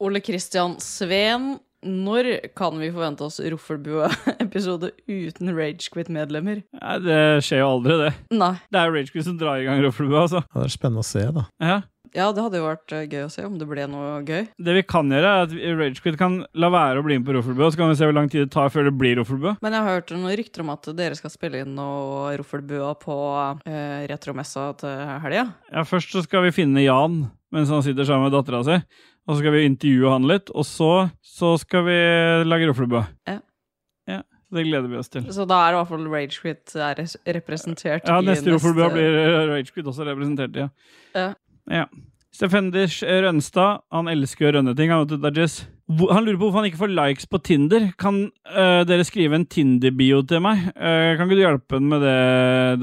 A: Ole Kristian Sveen, når kan vi forvente oss Roffelbua-episode uten Ragequit-medlemmer?
B: Nei, det skjer jo aldri, det.
A: Nei.
B: Det er Ragequid som drar i gang Roffelbua, altså.
C: Ja, det er spennende å se, da.
B: Ja.
A: Ja, det hadde jo vært eh, gøy å se om det ble noe gøy.
B: Det vi kan gjøre, er at Ragequid kan la være å bli med på Roffelbua, så kan vi se hvor lang tid det tar før det blir Roffelbua.
A: Men jeg har hørt noen rykter om at dere skal spille inn noe Roffelbua på eh, retromessa til helga.
B: Ja, først så skal vi finne Jan mens han sitter sammen med dattera si. Og så skal vi intervjue han litt, og så, så skal vi lage Roffelbua.
A: Ja.
B: ja. så Det gleder vi oss til.
A: Så da er i hvert fall Ragequit er res- representert.
B: Ja,
A: i
B: neste Roffelbua blir Ragequid også representert, ja.
A: Ja.
B: ja. Stefenders Rønstad, han elsker å rønne ting. Han, vet du, Dajis. Hvor- han lurer på hvorfor han ikke får likes på Tinder. Kan øh, dere skrive en Tinder-bio til meg? Øh, kan ikke du hjelpe han med det,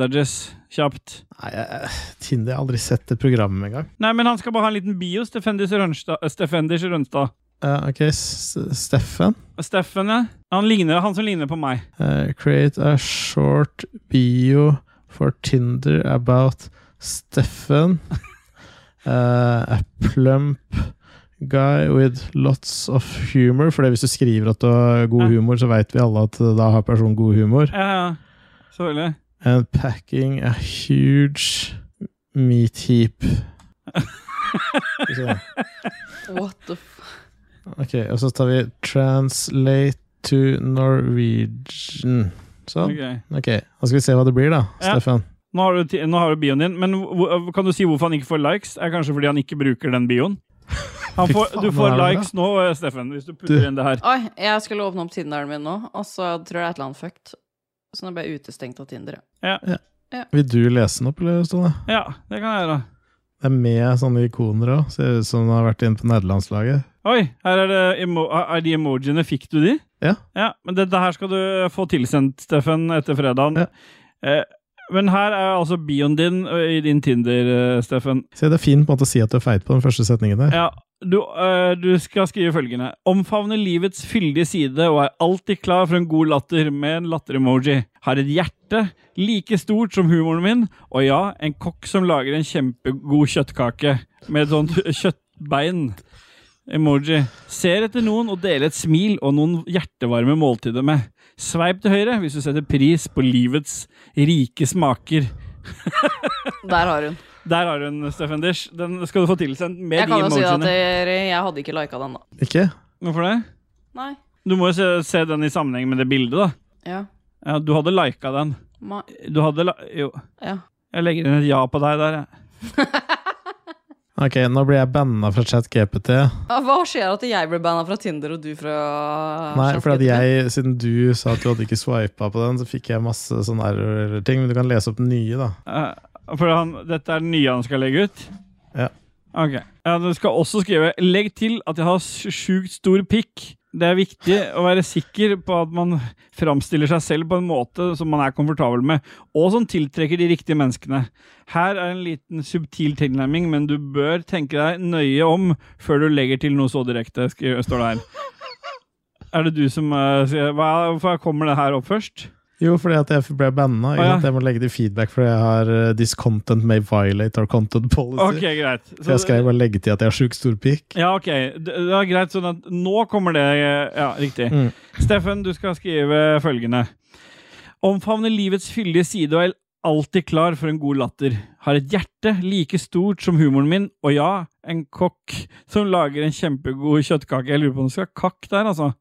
B: Dajis? Kjapt.
C: Nei, jeg, Tinder, jeg har aldri sett det programmet engang.
B: Nei, men han skal bare ha en liten bio, Stefenders Rønstad. øh, Stefenders Rønstad.
C: Eh, ok, S Steffen.
B: Steffen, ja. Han, ligner, han som ligner på meg.
C: Eh, create a short bio for Tinder about Steffen. Eh, a plump guy with lots of humor. For det hvis du skriver at du har god humor, så veit vi alle at eh, da har personen god humor.
B: Ja, ja. Selvfølgelig.
C: And packing a huge meat heap. Så,
A: What the f...
C: Ok, og så tar vi translate to Norwegian. Sånn.
B: Ok.
C: Ok, da skal vi se hva det blir, da,
B: Ja.
C: Steffen.
B: Nå har, du, ti- nå har du bioen din, men hvor- kan du si hvorfor han ikke får likes? Er kanskje fordi han ikke bruker den bioen? Han
C: Fy
B: får,
C: faen,
B: du
C: hva er
B: får
C: det
B: likes nå, eh, Steffen, hvis du putter
C: Du-
B: inn det her.
A: Oi, jeg skulle åpne opp Tinderen min nå, og så tror jeg det er et eller annet fucked. Så nå ble jeg utestengt av Tinder. ja.
C: Vil du lese den opp, eller, Ståle?
B: Ja, det kan jeg gjøre.
C: Det er med sånne ikoner òg. Ser ut som den har vært inne på nederlandslaget.
B: Oi, her er, det emo er de emojiene. Fikk du de?
C: Ja.
B: ja men dette her skal du få tilsendt, Steffen, etter fredagen.
C: Ja.
B: Eh, men her er altså bioen din ø, i din Tinder, eh, Steffen.
C: Se, det er fin på en måte å si at du er feit på den første setningen der.
B: Ja, du, eh, du skal skrive følgende. Omfavner livets fyldige side og er alltid klar for en god latter med en latter-emoji. Har et hjerte like stort som humoren min, og ja, en kokk som lager en kjempegod kjøttkake med et sånt kjøttbein. Emoji. Ser etter noen og deler et smil og noen hjertevarme måltider med. Sveip til høyre hvis du setter pris på livets rike smaker.
A: Der har hun.
B: Der har hun, Steffen Dish. Den skal du få tilsendt med
A: Jeg
B: de
A: kan jo si at
B: emojiene.
A: dere, jeg hadde ikke lika den, da.
C: Ikke?
B: Hvorfor det?
A: Nei.
B: Du må jo se, se den i sammenheng med det bildet, da.
A: Ja.
B: Ja, du hadde lika den.
A: Ma
B: Du hadde la... Jo.
A: ja.
B: Jeg legger inn et ja på deg der, jeg.
C: Ok, nå blir jeg banna fra ChatGPT.
A: Ja, Hva skjer at jeg blir banna fra Tinder og du fra
C: Nei, for at
A: ChatGPT?
C: jeg, siden du sa at du hadde ikke swipa på den, så fikk jeg masse sånne error ting. Men du kan lese opp den nye, da.
B: Eh, For han, dette er den nye han skal legge ut?
C: Ja.
B: Ok. Ja, du skal også skrive Legg til at jeg har s- sjukt stor pikk. Det er viktig å være sikker på at man framstiller seg selv på en måte som man er komfortabel med, og som tiltrekker de riktige menneskene. Her er en liten subtil tilnærming, men du bør tenke deg nøye om før du legger til noe så direkte, skri- står det her. Er det du som eh, sier hva, Hvorfor kommer det her opp først?
C: Jo, fordi at jeg ble banna.
B: Å, ja.
C: Jeg må legge til feedback fordi jeg har eh, 'This content may violate our content
B: Ok,
C: policy'.
B: greit.
C: Så jeg skal jo bare legge til at jeg har sjukt stor pikk.
B: Ja, ok. Det det er greit, sånn at nå kommer det Ja, riktig.
C: Mm.
B: Steffen, du skal skrive følgende. Omfavne livets fyldige side og er alltid klar for en god latter. Har et hjerte like stort som humoren min, og ja, en kokk som lager en kjempegod kjøttkake. Jeg lurer på om det skal kakk der, altså.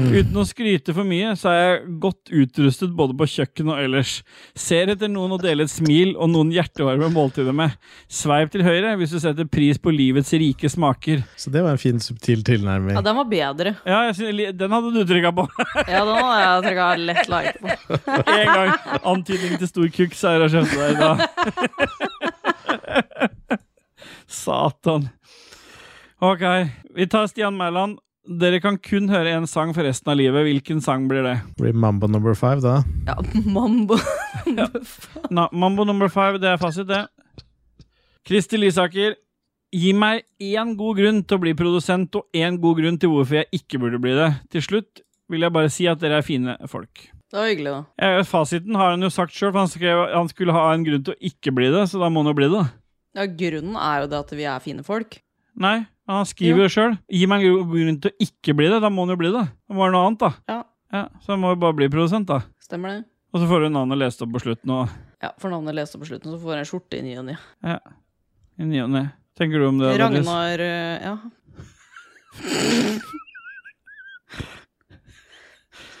B: Uten å skryte for mye, så er jeg godt utrustet både på kjøkken og ellers. Ser etter noen å dele et smil og noen hjertevarme måltider med. Sveip til høyre hvis du setter pris på livets rike smaker.
C: Så det var en fin, subtil tilnærming.
A: Ja, den var bedre.
B: Ja, jeg synes, den hadde du trykka på.
A: Ja, den hadde jeg trykka lett like på.
B: En gang. Antydning til stor kukk, sa jeg og skjønte deg da. Satan. Ok, vi tar Stian Mæland. Dere kan kun høre én sang for resten av livet. Hvilken sang blir det?
C: Blir Mambo number five, da?
A: Ja, mambo.
B: Na, Mambo number five, det er fasit, det. Kristi Lysaker, gi meg én god grunn til å bli produsent, og én god grunn til hvorfor jeg ikke burde bli det. Til slutt vil jeg bare si at dere er fine folk.
A: Det var hyggelig, da.
B: Eh, Fasiten har han jo sagt sjøl, for han skrev at han skulle ha en grunn til å ikke bli det, så da må han jo bli det.
A: Ja, Grunnen er jo det at vi er fine folk.
B: Nei, han skriver jo sjøl. Gi meg en gro- grunn til å ikke bli det, da må han jo bli det. Det må være noe annet, da.
A: Ja.
B: så han må jo bare bli produsent, da.
A: Stemmer det?
B: Og så får du navnet lest opp på slutten og
A: Ja, For navnet leste på slutten, så får jeg en skjorte i ny og ny.
B: ja. I ny og ne. Tenker du om det? Dennis?
A: Ragnar eh, Ja.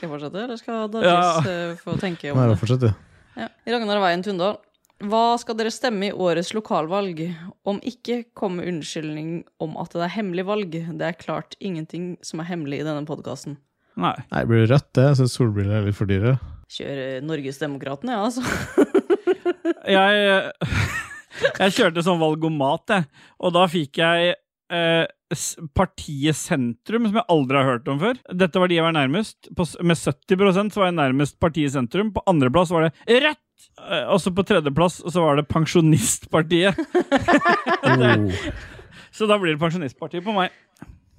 A: Skal jeg fortsette, eller skal Dajis
B: Ja.
A: eh, få tenke om
C: Nei,
A: det?
C: fortsett, du.
A: Ja. Ragnar Veien Tundal. Hva skal dere stemme i årets lokalvalg? Om ikke, kom med unnskyldning om at det er hemmelig valg. Det er klart ingenting som er hemmelig i denne podkasten.
B: Nei.
C: Nei, blir det rødt, det? Jeg syns solbriller er litt for dyre.
A: Kjør eh, Norgesdemokratene, ja, altså.
B: jeg, eh, jeg kjørte sånn valgomat, jeg. Og da fikk jeg eh, s- partiet Sentrum, som jeg aldri har hørt om før. Dette var de jeg var nærmest. På, s- med 70 så var jeg nærmest partiet Sentrum. På andreplass var det Rødt! Eh, Og så på tredjeplass så var det Pensjonistpartiet. Det- Så da blir det Pensjonistpartiet på meg.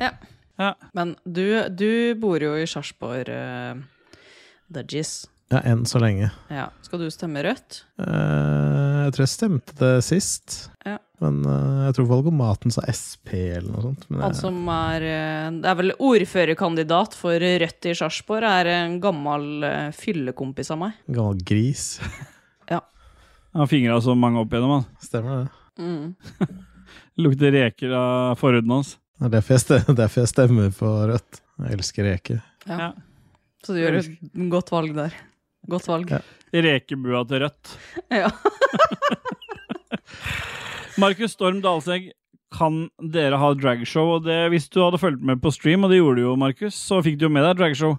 A: Ja. Men du, du bor jo i Sarpsborg, uh, Dudgies.
C: Ja, enn så lenge.
A: Ja. Skal du stemme rødt?
C: Eh, jeg tror jeg stemte det sist.
A: Ja.
C: Men eh, jeg tror valgomaten sa SP eller noe sånt. Men
A: Han
C: jeg,
A: som er eh, Det er vel ordførerkandidat for Rødt i Sarpsborg, er en gammel eh, fyllekompis av meg.
C: gammel gris.
B: Han fingra så mange opp igjennom, han.
C: Stemmer det.
A: Mm.
B: Lukter reker av forhuden hans.
C: Det er derfor jeg stemmer, derfor jeg stemmer på rødt. Jeg elsker reker.
A: Ja.
B: Ja.
A: Så du gjør et godt valg der. Godt valg.
C: Ja.
B: Rekebua til Rødt.
A: Ja.
B: Markus Storm Dalsegg, kan dere ha dragshow? Og det, hvis du hadde fulgt med på stream, og det gjorde du jo, Markus, så fikk du jo med deg dragshow.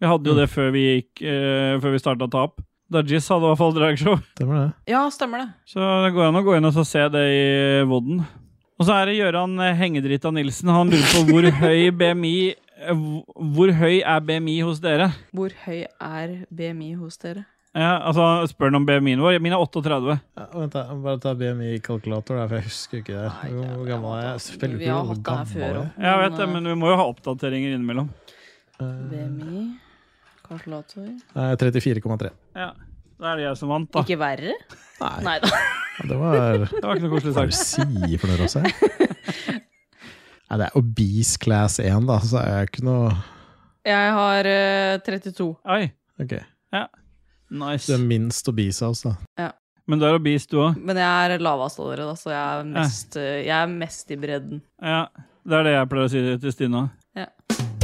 B: Vi hadde jo det før vi, gikk, eh, før vi starta ta opp. Dajis hadde i hvert fall dragshow.
C: Stemmer det.
A: ja, stemmer det.
B: Så det går an å gå inn og så se det i eh, Vodden. Og så er det Gøran eh, Hengedrita Nilsen. Han lurer på hvor høy BMI eh, hvor- Hvor høy er BMI hos dere?
A: Hvor høy er BMI hos dere?
B: Ja, altså, spør han om BMI-en vår. Min er 38.
C: Ja, vent, da. Jeg må Bare ta BMI-kalkulator, for jeg husker ikke det. Hvor gammel er jeg? Spiller
A: Vi
C: ikke
A: har
C: noe
A: hatt det her
C: gammel
A: før
C: jeg er.
A: også,
B: altså. Jeg vet det,
A: eh,
B: men vi må jo ha oppdateringer innimellom.
A: BMI, kalkulator
C: Eh, Nei, 34,3.
B: Ja, Da er det jeg som vant, da.
A: Ikke verre?
C: Nei.
A: Nei da.
C: Ja, Det var
B: Det var ikke noe koselig
C: Hva er det du
B: sagt.
C: sier for noe, Rosse? Nei, det er obese class 1, da, så er jeg ikke noe
A: Jeg har eh, 32.
B: Oi,
C: Ok, du
B: nice.
C: er minst obese av oss, da.
B: Men du er obese, du òg.
A: Men jeg er lavest av dere, da, så jeg er mest, eh, jeg er mest i bredden.
B: Ja, det er det jeg pleier å si til Stine òg.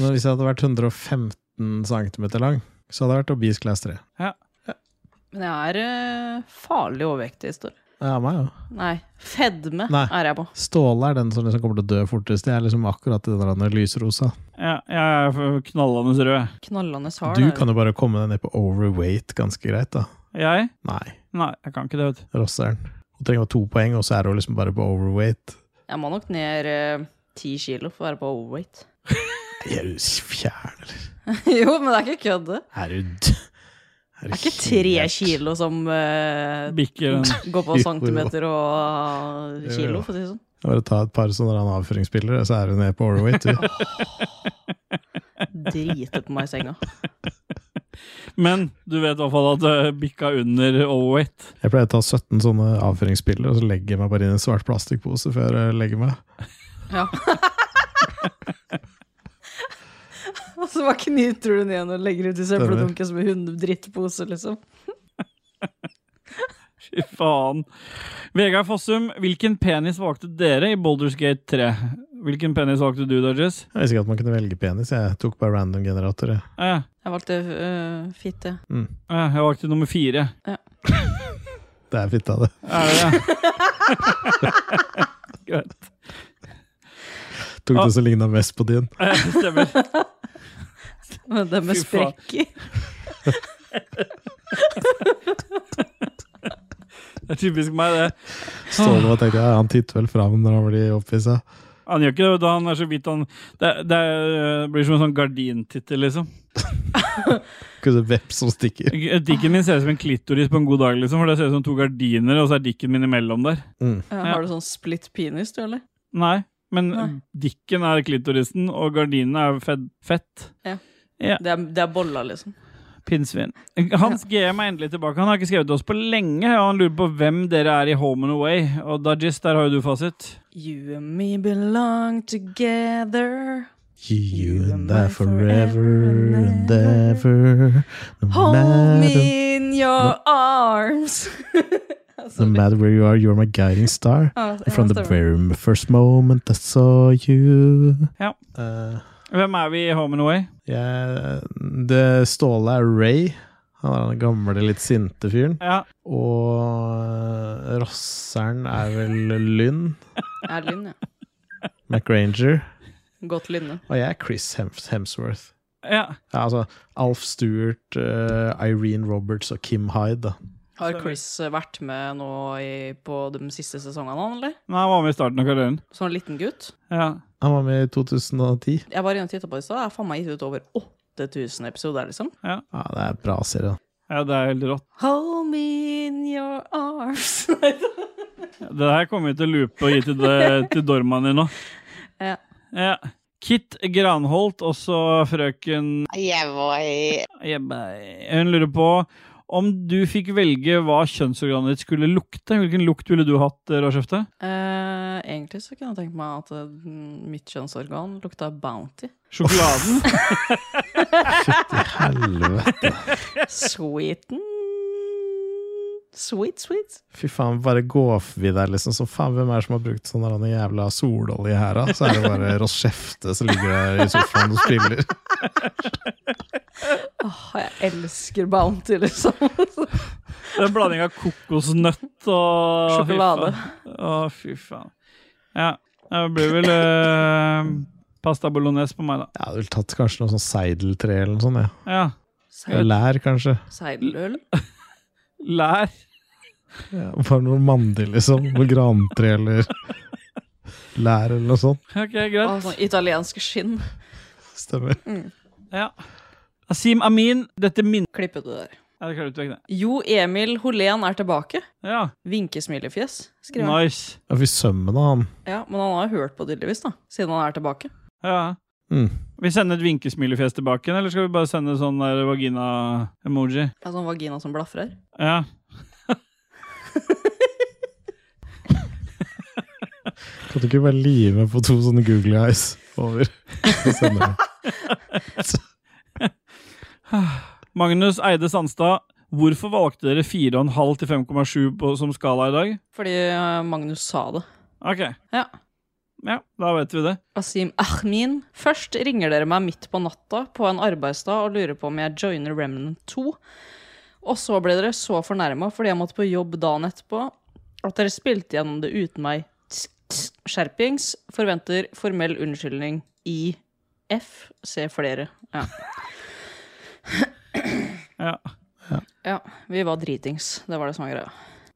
C: Men hvis jeg hadde vært 115 cm lang, så hadde jeg vært obese class 3.
A: Men jeg er eh, farlig overvektig. står det.
C: Ja, meg òg.
A: Nei. Fedme
C: Nei.
A: er jeg på.
C: Ståle er den som liksom kommer til å dø fortest. Jeg er liksom akkurat i den der lysrosa.
B: Ja, jeg er for knallende rød.
A: Knallende hard.
C: Du
A: er
C: kan jo bare komme deg ned på overweight ganske greit, da.
B: Jeg?
C: Nei.
B: Nei, jeg kan ikke det, vet du.
C: Rosseren. Hun trenger bare to poeng, og så er hun liksom bare på overweight.
A: Jeg må nok ned eh, ti kilo for å være på overweight.
C: Er du fjern, eller?
A: jo, men det er ikke kødd, det.
C: Er du d-
A: Det er
C: er du
A: ikke tre
C: helt-
A: kilo som eh,
B: Bikker
C: den.
A: går på
C: Jo,
A: centimeter og
C: Jo,
A: kilo,
C: jo.
A: for å si det sånn.
C: Bare ta et par sånne der avføringsspillere, så er hun ned på overweight. Du.
A: Drite på meg i senga.
B: Men du vet i hvert fall at det bikka under overweight.
C: Jeg pleier å ta 17 sånne avføringsspillere, og så legger jeg meg bare inn i en svart plastikkpose før jeg legger meg.
A: Ja. og så bare knyter du den igjen og legger ut i søppeldunken som en hundedrittpose, liksom.
B: Fy faen. Vegard Fossum, hvilken penis valgte dere i Boulders Gate 3? Hvilken penis valgte du, Dodges?
C: Jeg visste ikke at man kunne velge penis, jeg tok bare random generator. jeg.
B: Eh,
A: Jeg valgte uh, fitte.
C: Mm.
B: eh, jeg valgte nummer fire.
C: Det er fitta, det.
B: Er det det? Greit.
C: Tok det som ligna mest på din.
B: Eh, Stemmer.
A: Men det med
B: Fy faen.
A: sprekk i.
B: Det er typisk meg, det.
C: Ståle var tenkte jeg, han titter vel fram når han blir opphissa.
B: Han gjør ikke det, da han er så vidt han Det, det er- blir som en sånn gardintittel, liksom.
C: Kunne veps som stikker.
B: Dikken min ser ut som en klitoris på en god dag, liksom, for det ser ut som to gardiner, og så er dikken min imellom der.
C: Mm.
A: Ja, har du sånn splitt penis, du, eller?
B: Nei, men
A: Nei.
B: dikken er klitorisen, og gardinene er fed, fett.
A: Ja.
B: Ja.
A: Det, er, det er bolla, liksom.
B: Pinnsvin. Hans GM er endelig tilbake. Han har ikke skrevet til oss på lenge, og han lurer på hvem dere er i Home and Away. Og Dajis, der har jo du fasit.
A: You and me belong together.
C: You and I forever and ever. No
A: Hold
C: matter,
A: me in your arms. Ah,
C: no matter where you are, you're my guiding star.
A: Ja,
C: And From the
A: stemmer.
C: very first moment I saw you.
B: Ja.
C: Eh,
B: Hvem er vi i Home and Away?
C: jeg, det Ståle er Ray. Han er den gamle, litt sinte fyren.
B: Ja.
C: Og Rosseren eh, er vel Lynn
A: Er Lynn, ja.
C: McRanger.
A: Godt lynne.
C: Og jeg er Chris Hems- Hemsworth.
B: ja.
C: Ja, altså Alf Stewart, eh, Irene Roberts og Kim Hyde. Da.
A: Har Chris eh, vært med nå i, på de siste sesongene, han, eller?
B: Nei, han var med i starten av karrieren.
A: Som en liten gutt?
B: Ja.
C: Han var med i 2010.
A: Jeg var inne og titta på det i stad. Jeg har faen meg gitt ut over 8000 episoder, liksom.
C: Ja, det er en bra serie. da.
B: ja, det er helt rått.
A: Hold me in your arms.
B: Det her kommer vi til å loope og gi til, det- til dormaen din nå.
A: Ja.
B: Ja. Kit Granholt, også frøken
L: Jeg var i
B: Jebbe. Hun lurer på om du fikk velge hva kjønnsorganet ditt skulle lukte. Hvilken lukt ville du hatt, Råskjefte?
A: Eh, egentlig så kunne jeg tenkt meg at eh, mitt kjønnsorgan lukta Bounty.
B: Sjokoladen?
C: I helvete.
A: Sweeten Sweet, sweet.
C: Fy faen, bare gå vi der, liksom. Så faen, hvem er det som har brukt sånn der jævla sololje her, da? Så er det bare Ross Skjefte som ligger der i sofaen og spiller.
A: Åh, jeg elsker Bounty, liksom.
B: Det er en blanding av kokosnøtt og
A: Sjokolade.
B: Fy faen. Å, fy faen. Ja. Det blir vel eh, pasta bolognese på meg, da.
C: Jeg hadde vel tatt kanskje noe sånn seideltre eller noe sånt, jeg.
B: Ja.
C: Eller Lær, kanskje.
A: Seidløl.
B: Lær.
C: Ja, bare noe mandig, liksom. Noe grantre eller lær eller noe sånt.
B: Ok,
A: Og
B: greit.
A: sånn italiensk skinn.
C: Stemmer.
B: Ja. Asim Amin, dette minner
A: Klippet du der.
B: Ja, det klarer du ikke, det.
A: Jo Emil Holén er tilbake.
B: Ja.
A: Vinkesmilefjes, skriver han.
B: Nice.
C: Ja, fy sømmen av han.
A: Ja, men han har hørt på, tydeligvis, da. Siden han er tilbake.
B: Ja.
C: Mm.
B: Vi sender et vinkesmilefjes tilbake, eller skal vi bare sende sånn der vagina-emoji?
A: Det er sånn vagina som blafrer.
B: Ja.
C: Kan du ikke bare lime på to sånne googly eyes over? og sende det?
B: Magnus Eide Sandstad, hvorfor valgte dere 4,5 til 5,7 på- som skala i dag?
A: Fordi eh, Magnus sa det.
B: Ok.
A: Ja.
B: Ja, da vet vi det.
A: Asim Ahmin. Først ringer dere meg midt på natta på en arbeidsdag og lurer på om jeg joiner Remnant 2. Og så ble dere så fornærma fordi jeg måtte på jobb dagen etterpå. At dere spilte gjennom det uten meg. Skjerpings. Forventer formell unnskyldning i F. Se flere. Ja.
B: Ja.
A: ja. Vi var dritings. Det var det som var greia.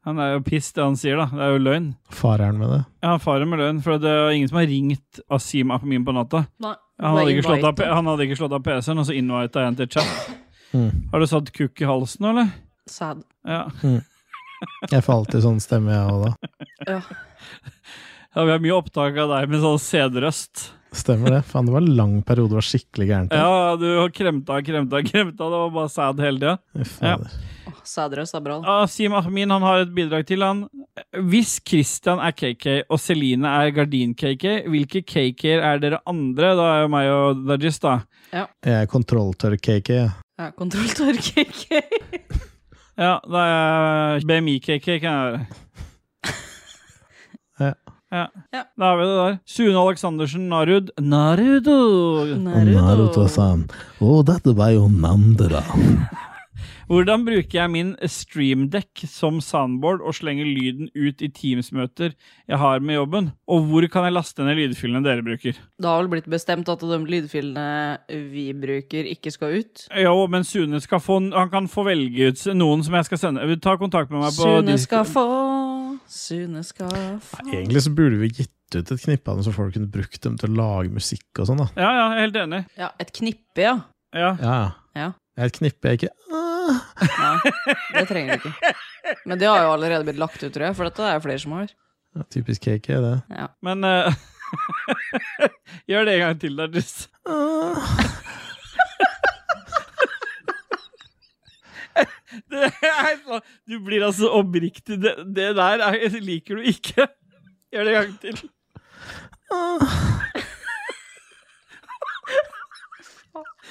B: Han er jo piss, det han sier, da. Det er jo løgn.
C: Fareren med det.
B: Ja, faren med løgn, for det er ingen som har ringt Asim Ahmin på natta.
A: Nei,
B: Han hadde,
A: det
B: ikke
A: var
B: slått av,
A: invite.
B: han hadde ikke slått av PC-en, og så invita jeg en til chat.
C: Mm.
B: Har du satt kukk i halsen nå, eller?
A: Sad.
B: Ja.
C: Mm. Jeg får alltid sånn stemme, jeg òg, da.
A: Ja.
B: ja. Vi har mye opptak av deg med sånn sædrøst.
C: Stemmer det. Faen, det var en lang periode det var skikkelig gærent.
B: Ja, du har kremta, kremta, kremta. Det var bare sad hele tida. Ja.
A: Åh, Sædrøs er bra. da.
B: Asim Ahmin han har et bidrag til. han. Hvis Christian er KK og Celine er Gardin-KK, hvilke KK-er er dere andre? Da er jo meg og Dajis, da.
C: Jeg er kontrolltørr-KK. jeg.
A: Ja, Kontrolltørr KK.
B: Ja, da er jeg BMI-KK, kan jeg være.
C: Ja.
B: Ja.
A: Ja.
B: Da har vi det der. Sune Aleksandersen Narud. Narudo!
C: Naruto-san. Å, dette var jo Nandra.
B: Hvordan bruker jeg min streamdeck som soundboard og slenger lyden ut i Teams-møter jeg har med jobben? Og hvor kan jeg laste ned lydfilene dere bruker?
A: Det har vel blitt bestemt at de lydfilene vi bruker, ikke skal ut.
B: Jo, men Sune skal få, han kan få velge ut noen som jeg skal sende. Ta kontakt med meg på
A: Sune
B: Discord.
A: skal få Sune skal få
C: Egentlig så burde vi gitt ut et knippe av dem, så folk kunne brukt dem til å lage musikk og sånn, da.
B: Ja, ja, jeg er helt enig.
A: Ja, et knippe, ja.
B: Ja.
C: Ja.
A: Ja.
C: Et knippe jeg ikke ah.
A: Nei, det trenger du ikke. Men det har jo allerede blitt lagt ut, tror jeg, for dette er det flere som har.
C: Ja, Typisk KK, det.
A: Ja.
B: Men eh, Gjør det en gang til, da, Dajis.
C: Ah.
B: Det er så- Du blir altså oppriktig Det, det der er, liker du ikke. Gjør det en gang til.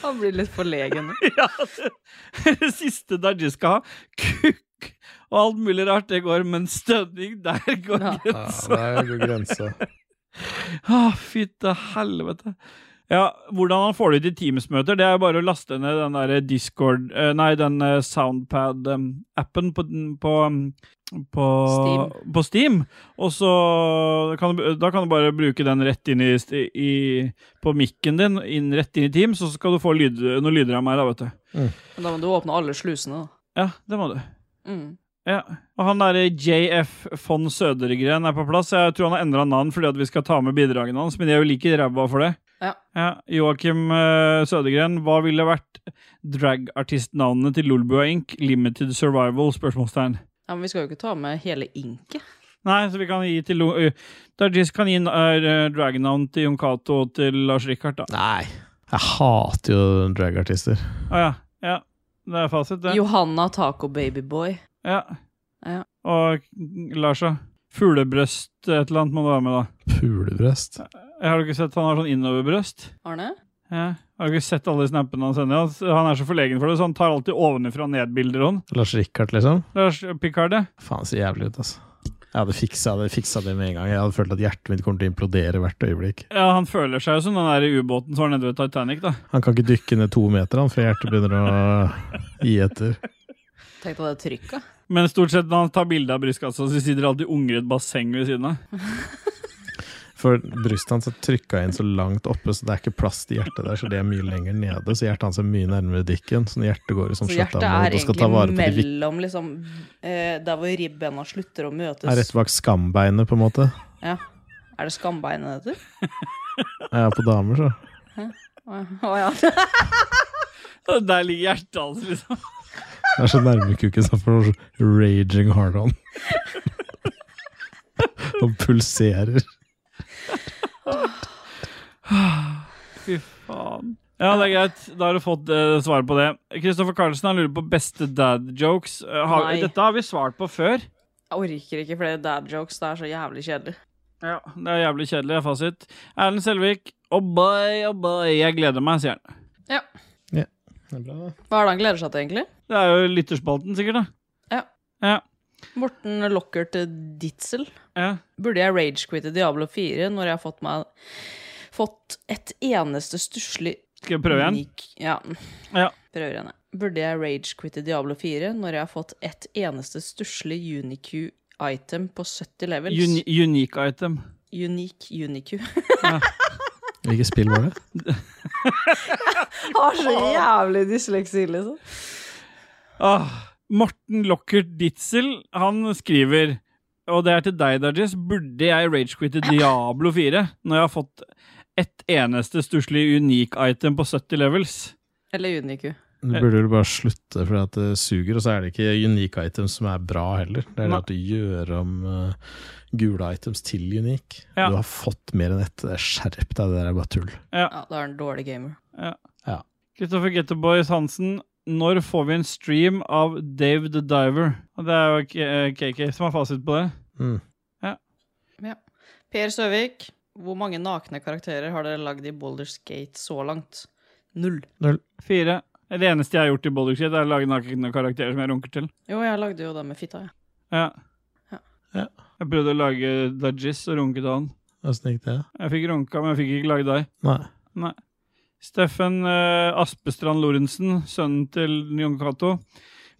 A: Han blir litt forlegen. nå.
B: Ja, det, det siste Dajis skal ha, kukk og alt mulig rart, det går, men stønning, der går
A: Ja.
C: Ja,
B: grensa.
C: det er jo god grense.
B: Å, fytte helvete. Ja, hvordan han får det ut i Teams-møter, det er bare å laste ned den der Discord eh, Nei, den eh, Soundpad-appen på, den- på mm, på
A: Steam.
B: på Steam. Og så kan du, da kan du bare bruke den rett inn i, sti- i på mikken din, inn, rett inn i Teams, og så skal du få lyd, noen lyder av meg, da, vet du.
A: Men da må du åpne alle slusene, da.
B: Ja, det må du.
A: Mm.
B: Ja, og han der JF von Sødregren er på plass. Jeg tror han har endra navn fordi at vi skal ta med bidragene hans, men de er jo like ræva for det.
A: Ja.
B: Joakim eh, Sødegren, hva ville vært dragartistnavnene til Lolbua Inc.? Limited Survival? spørsmålstegn.
A: Ja, Men vi skal jo ikke ta med hele inket.
B: Nei, så vi kan gi til Lo- eh, Dargis kan gi uh, dragnavn til Jon Cato og til Lars Rikard, da.
C: Nei. Jeg hater jo dragartister.
B: Å ja. ja. Det er fasit, det.
A: Johanna Taco Babyboy.
B: Ja.
A: Ja.
B: Og Lars, da? Fuglebrøst, et eller annet må du være med, da.
C: Pulebrøst.
B: Har du ikke sett han har sånn innoverbrøst?
A: Arne?
B: Ja. Har du ikke sett alle snappene han sender? Han- Han er så forlegen for det, så han tar alltid ovenfra og ned-bilder. han.
C: Lars Rikard, liksom.
B: Lars Picard, ja.
C: Faen, så jævlig ut, altså. Jeg hadde fiksa det, fiksa det med en gang. Jeg hadde følt at hjertet mitt kommer til å implodere hvert øyeblikk.
B: ja, han føler seg jo som den der i ubåten som var nede ved Titanic, da.
C: Han kan ikke dykke ned to meter, han, før hjertet begynner å gi etter.
A: Tenk deg det trykket.
B: Men stort sett når han tar bilde av brystkassa, så sitter det alltid unger i et basseng ved siden av.
C: For brystet hans er trykka inn så langt oppe, så det er ikke plass til hjertet der, så det er mye lenger nede. Så hjertet hans er mye nærmere dikken, så når hjertet går i
A: Så
C: sånn
A: hjertet er
C: shutdown-mode og skal ta vare
A: egentlig
C: på de vik-
A: mellom liksom eh, Der hvor ribbena slutter å møtes.
C: er rett bak skambeinet, på en måte.
A: Ja. Er det skambeinet det heter?
C: Ja, på damer, så.
A: Å ja. Å ja.
B: Og Der ligger hjertet hans, liksom.
C: Det er så nærme kuken som får raging hard on. Han pulserer.
B: Fy faen. Ja, det er greit. Da har du fått eh, svaret på det. Kristoffer Carlsen han lurer på beste dad-jokes. Eh, har-
A: Nei.
B: Dette har vi svart på før.
A: Jeg orker ikke flere dad jokes. Det er så jævlig kjedelig.
B: Ja, Det er jævlig kjedelig, er fasit. Erlend Selvik, oh boy, oh boy, jeg gleder meg, sier han.
A: Ja.
C: Det er bra, da.
A: Hva er det han gleder seg til, egentlig?
B: Det er jo lytterspalten, sikkert, da.
A: Morten Lockert Ditzel.
B: Ja.
A: Burde jeg ragequitte Diablo 4 når jeg har fått meg Fått et eneste stusslig
B: Skal jeg prøve igjen?
A: unik- Ja.
B: Ja.
A: Prøver igjen, jeg. Burde jeg ragequitte Diablo 4 når jeg har fått et eneste stusslig unique item på 70 levels.
B: Uni unique item.
A: Unik Uniku.
C: Hvilket spill var det?
A: Har så jævlig dysleksi, liksom.
B: Ah, Morten Lockert Ditzel, han skriver og det er til deg, Dajis. Burde jeg ragequitte Diablo 4 når jeg har fått ett eneste stusslig unique item på 70 levels?
A: Eller Uniku.
C: Du burde vel bare slutte, for at det suger. Og så er det ikke unique items som er bra heller. Det er det
B: Nei.
C: at du gjør om eh, gule items til unique.
B: Ja.
C: Du har fått mer enn ett. Skjerp deg, det der er bare tull.
B: Ja.
A: Ja, da er han en dårlig gamer.
C: Ja.
B: Kristoffer Getteboys Hansen, når får vi en stream av Dave the Diver? Og det er jo K- eh, KK som har fasit på det.
C: Mm.
A: Per Søvik, hvor mange nakne karakterer har dere lagd i Boulders Gate så langt? Null.
B: Fire. Det eneste jeg har gjort i Boulder Shit, er å lage nakne karakterer som jeg runker til.
A: Jo, jeg lagde jo det med fitta, jeg.
B: Ja.
A: Ja.
C: Ja.
B: Jeg prøvde å lage Dajis og runke til han.
C: Åssen gikk det?
B: Jeg fikk runka, men jeg fikk ikke lage deg.
C: Nei.
B: Nei. Steffen eh, Aspestrand Lorentzen, sønnen til Jon Cato.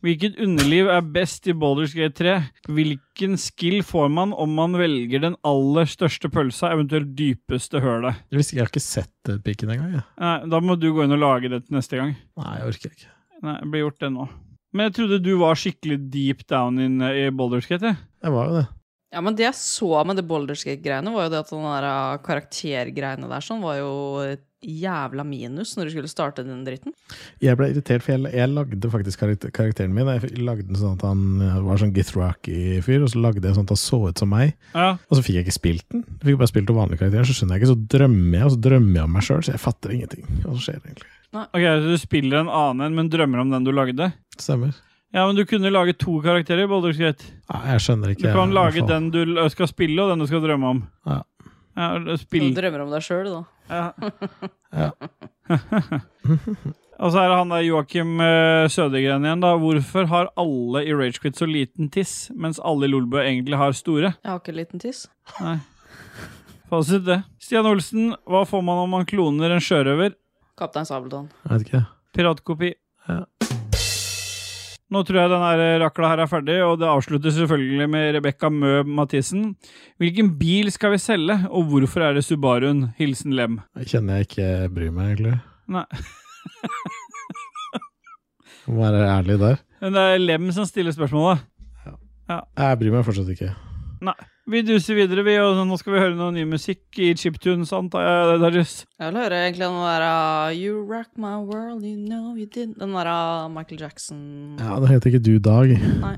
B: Hvilket underliv er best i Boulders Gate 3? Hvilken skill får man om man velger den aller største pølsa, eventuelt dypeste hølet?
C: Jeg, visste, ikke- jeg har ikke sett eh, pikken engang. Jeg.
B: Nei, da må du gå inn og lage det til neste gang.
C: Nei, jeg orker ikke.
B: Nei, det blir gjort det nå. Men jeg trodde du var skikkelig deep down in, eh, i Boulders Gate. jeg.
C: Jeg var jo det.
A: Ja, men det jeg så med det Boulders Gate-greiene, var jo det at den der eh, karaktergreiene der sånn var jo et jævla minus når du skulle starte den dritten.
C: Jeg ble irritert, for jeg, jeg lagde faktisk karakter, karakteren min. Jeg lagde den sånn at han eh, var sånn Githraki-fyr, og så lagde jeg sånn at han så ut som meg.
B: Ja.
C: Og så fikk jeg ikke spilt den. Jeg fikk bare spilt den vanlige karakteren, så skjønner jeg ikke. Så drømmer jeg, og så drømmer jeg om meg sjøl, så jeg fatter ingenting. Hva som skjer egentlig?
B: Ok, så du spiller en annen en, men drømmer om den du lagde?
C: Stemmer.
B: Ja, men du kunne lage to karakterer i Boulders Gate.
C: Nei, jeg skjønner
B: Du
C: ikke.
B: kan
C: i
B: lage
C: hvert fall.
B: den du l- skal spille, og den du skal drømme om.
C: Ja.
B: Ja,
A: Du
B: spill.
A: drømmer om deg sjøl, da.
B: Ja.
C: Ja.
B: Og så er det han der Joakim eh, Sødegren igjen, da. Hvorfor har alle i Ragequit så liten tiss, mens alle i Lolbø egentlig har store?
A: Jeg har ikke en liten tiss.
B: Nei. Fasit det. Stian Olsen, hva får man om man kloner en sjørøver?
A: Kaptein Sabeltann.
C: Jeg vet ikke.
B: Piratkopi.
C: Ja.
B: Nå tror jeg den her rakla her er ferdig, og det avsluttes selvfølgelig med Rebekka Mø Mathisen. Hvilken bil skal vi selge, og hvorfor er det Subaruen? Hilsen Lem.
C: Jeg kjenner jeg ikke bryr meg, egentlig.
B: Nei.
C: Jeg Må være ærlig der.
B: Men det er Lem som stiller spørsmålet.
C: Jeg bryr meg fortsatt ikke.
B: Vi duser videre, vi, og nå skal vi høre noe ny musikk i chiptunes, antar jeg. Det er just.
A: Jeg vil høre egentlig den der eh, You rock my world, you know you did Den der eh, Michael Jackson
C: Ja, Det heter ikke du Dag.
A: Nei.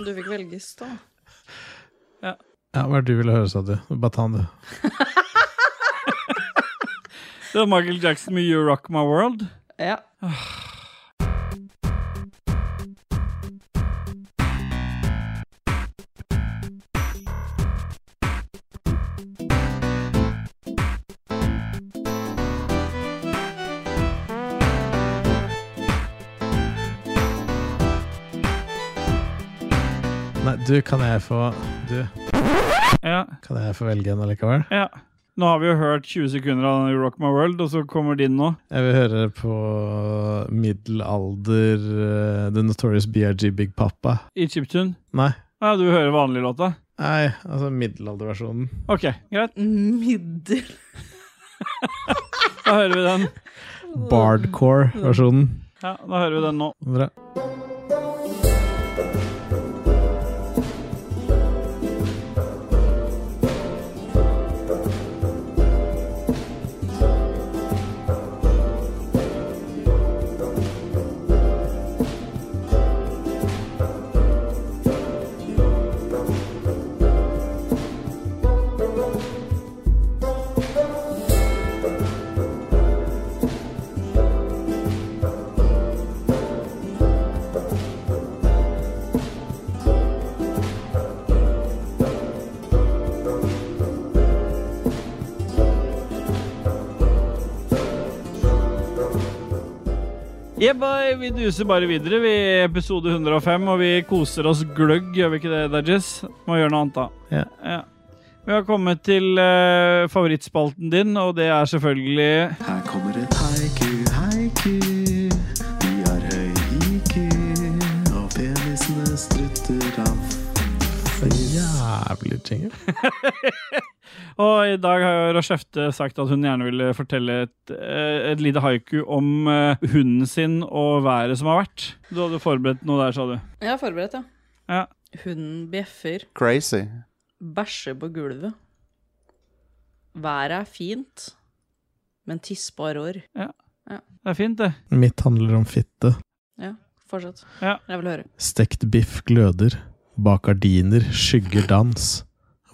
A: Du fikk velges, da.
C: Ja, Hva er det du ville høre, sa du? Bare ta den, du.
B: Det var Michael Jackson med You Rock My World.
A: Ja.
C: Nei, du, kan jeg få Du,
B: Ja,
C: kan jeg få velge en allikevel?
B: ja. Nå har vi jo hørt 20 sekunder av You Rock My World, og så kommer din nå.
C: Jeg vil høre på middelalder eh, The Notorious BRG Big Papa.
B: I chiptune.
C: Nei,
B: Ja, du hører vanlig låta.
C: nei altså middelalderversjonen.
B: Ok, greit.
A: Middel...
B: Da hører vi den.
C: Bardcore-versjonen.
B: Ja, da hører vi den nå.
C: Bra.
B: Yeah, boy, vi duser bare videre. Vi er i episode 105, og vi koser oss gløgg, gjør vi ikke det, Dajis? Må gjøre noe annet, da.
C: Ja.
B: Vi har kommet til eh, favorittspalten din, og det er selvfølgelig
L: Her kommer et haiku, haiku. Vi har høy IQ, og penisene strutter
C: vikinger.
B: Og i dag har Rashefte sagt at hun gjerne ville fortelle et, eh, et lite haiku om eh, hunden sin og været som har vært. Du hadde forberedt noe der, sa du.
A: Jeg er forberedt, ja.
B: Ja.
A: Hunden bjeffer,
L: Crazy.
A: bæsjer på gulvet. Været er fint, men tispa rår.
B: Ja. Det er fint, det.
C: Mitt handler om fitte.
A: Ja, fortsett. Jeg vil høre.
C: Stekt biff gløder. Bak gardiner skygger dans.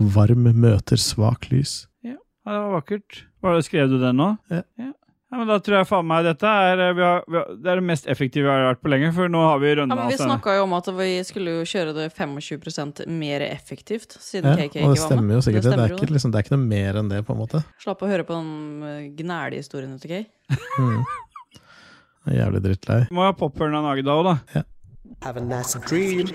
C: Varm møter svak lys.
B: Ja, det var vakkert. Var det, skrev du den nå? Ja. ja. men Da tror jeg faen meg dette er, eh, vi har, vi har, det er det mest effektive vi har vært på lenge, for nå har vi
A: Ja,
B: runda
A: men vi
B: oss denne.
A: snakka jo om at vi skulle jo kjøre det 25 mer effektivt, siden
C: Ja,
A: KK ikke var
C: og
A: med.
C: det stemmer jo sikkert. Det,
A: stemmer
C: er,
A: jo
C: ikke, liksom, det er ikke noe mer enn det, på en måte.
A: Slapp å høre på den eh, gnælehistoriene til Kay.
C: Mm. Jeg er Jævlig drittlei.
B: Må ha pophørn av Nagda òg, da.
E: Have a nice
H: dream.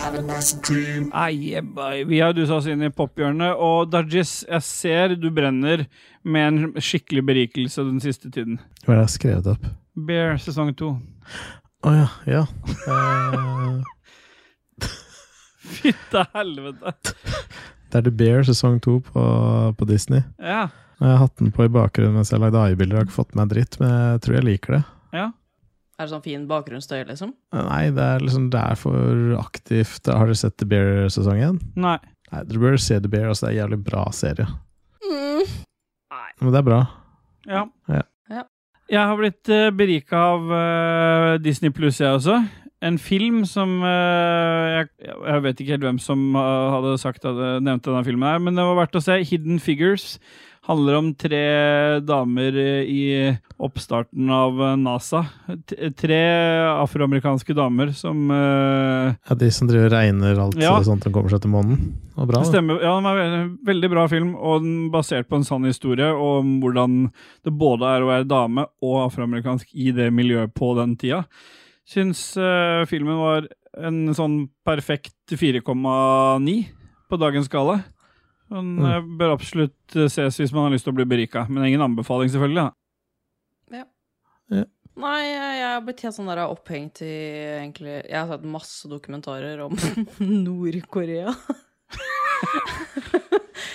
E: Have a nice dream.
B: Ai, ebbai. vi har dusa oss inn i pophjørnet, og Dajis, jeg ser du brenner med en skikkelig berikelse den siste tiden.
C: Hva er det jeg har skrevet opp?
B: Bear sesong to.
C: Å ja. ja. Eh,
B: Fytte helvete.
C: det er The Bear sesong to på, på Disney.
B: Ja.
C: Jeg har hatt den på i bakgrunnen mens jeg lagde AI-bilder. Har ikke fått meg dritt, men jeg tror jeg liker det.
A: Er det sånn fin bakgrunnsstøy, liksom?
C: Nei, det er liksom det er for aktivt. Har dere sett The Bear sesong én?
B: Nei.
C: Nei, dere bør se The Bear. Altså, det er en jævlig bra serie.
A: Mm.
C: Men det er bra.
B: Ja.
C: Ja.
A: Ja.
B: Jeg har blitt uh, berika av eh, Disney pluss, jeg også. En film som eh, jeg, jeg vet ikke helt hvem som eh, hadde sagt hadde nevnt denne filmen, her, men det var verdt å se. Hidden Figures handler om tre damer eh, i oppstarten av eh, NASA. T tre afroamerikanske damer som eh,
C: Ja, de som driver og regner alt
B: Ja.
C: sånt som kommer seg til månen. Og bra.
B: det
C: da.
B: stemmer. Ja, den var en veldig bra film, og den basert på en sann historie og om hvordan det både er å være dame og afroamerikansk i det miljøet på den tida. Syns eh, filmen var en sånn perfekt 4,9 på dagens skala. Den
C: Mm.
B: eh, bør absolutt eh, ses hvis man har lyst til å bli berika, men ingen anbefaling, selvfølgelig. da.
A: Nei, jeg jeg har blitt helt sånn der opphengt i egentlig Jeg har sett masse dokumentarer om Nord-Korea.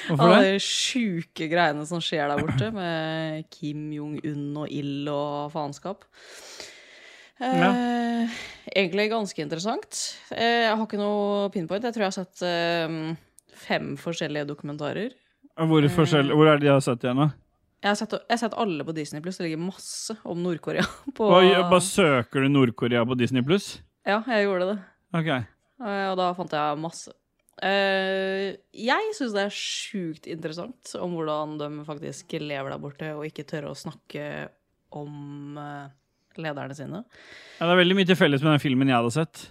B: Hvorfor
A: Alle
B: det?
A: de sjuke greiene som skjer der borte, med Kim Jong-un og ild og faenskap. Eh, Egentlig ganske interessant. Eh, jeg har ikke noe pinpoint. Jeg tror jeg har sett eh, fem forskjellige dokumentarer.
B: Hvor, forskjell- hvor er det de har sett igjen, da?
A: Jeg har sett, jeg har sett alle på Disney pluss. Det ligger masse om Nord-Korea på
B: Oi, Bare søker du Nord-Korea på Disney pluss?
A: Ja, jeg gjorde det.
B: Ok.
A: Eh, Og da fant jeg masse. Eh, jeg syns det er sjukt interessant om hvordan de faktisk lever der borte og ikke tør å snakke om eh, lederne sine.
B: Ja, det er veldig mye til felles med den filmen jeg hadde sett.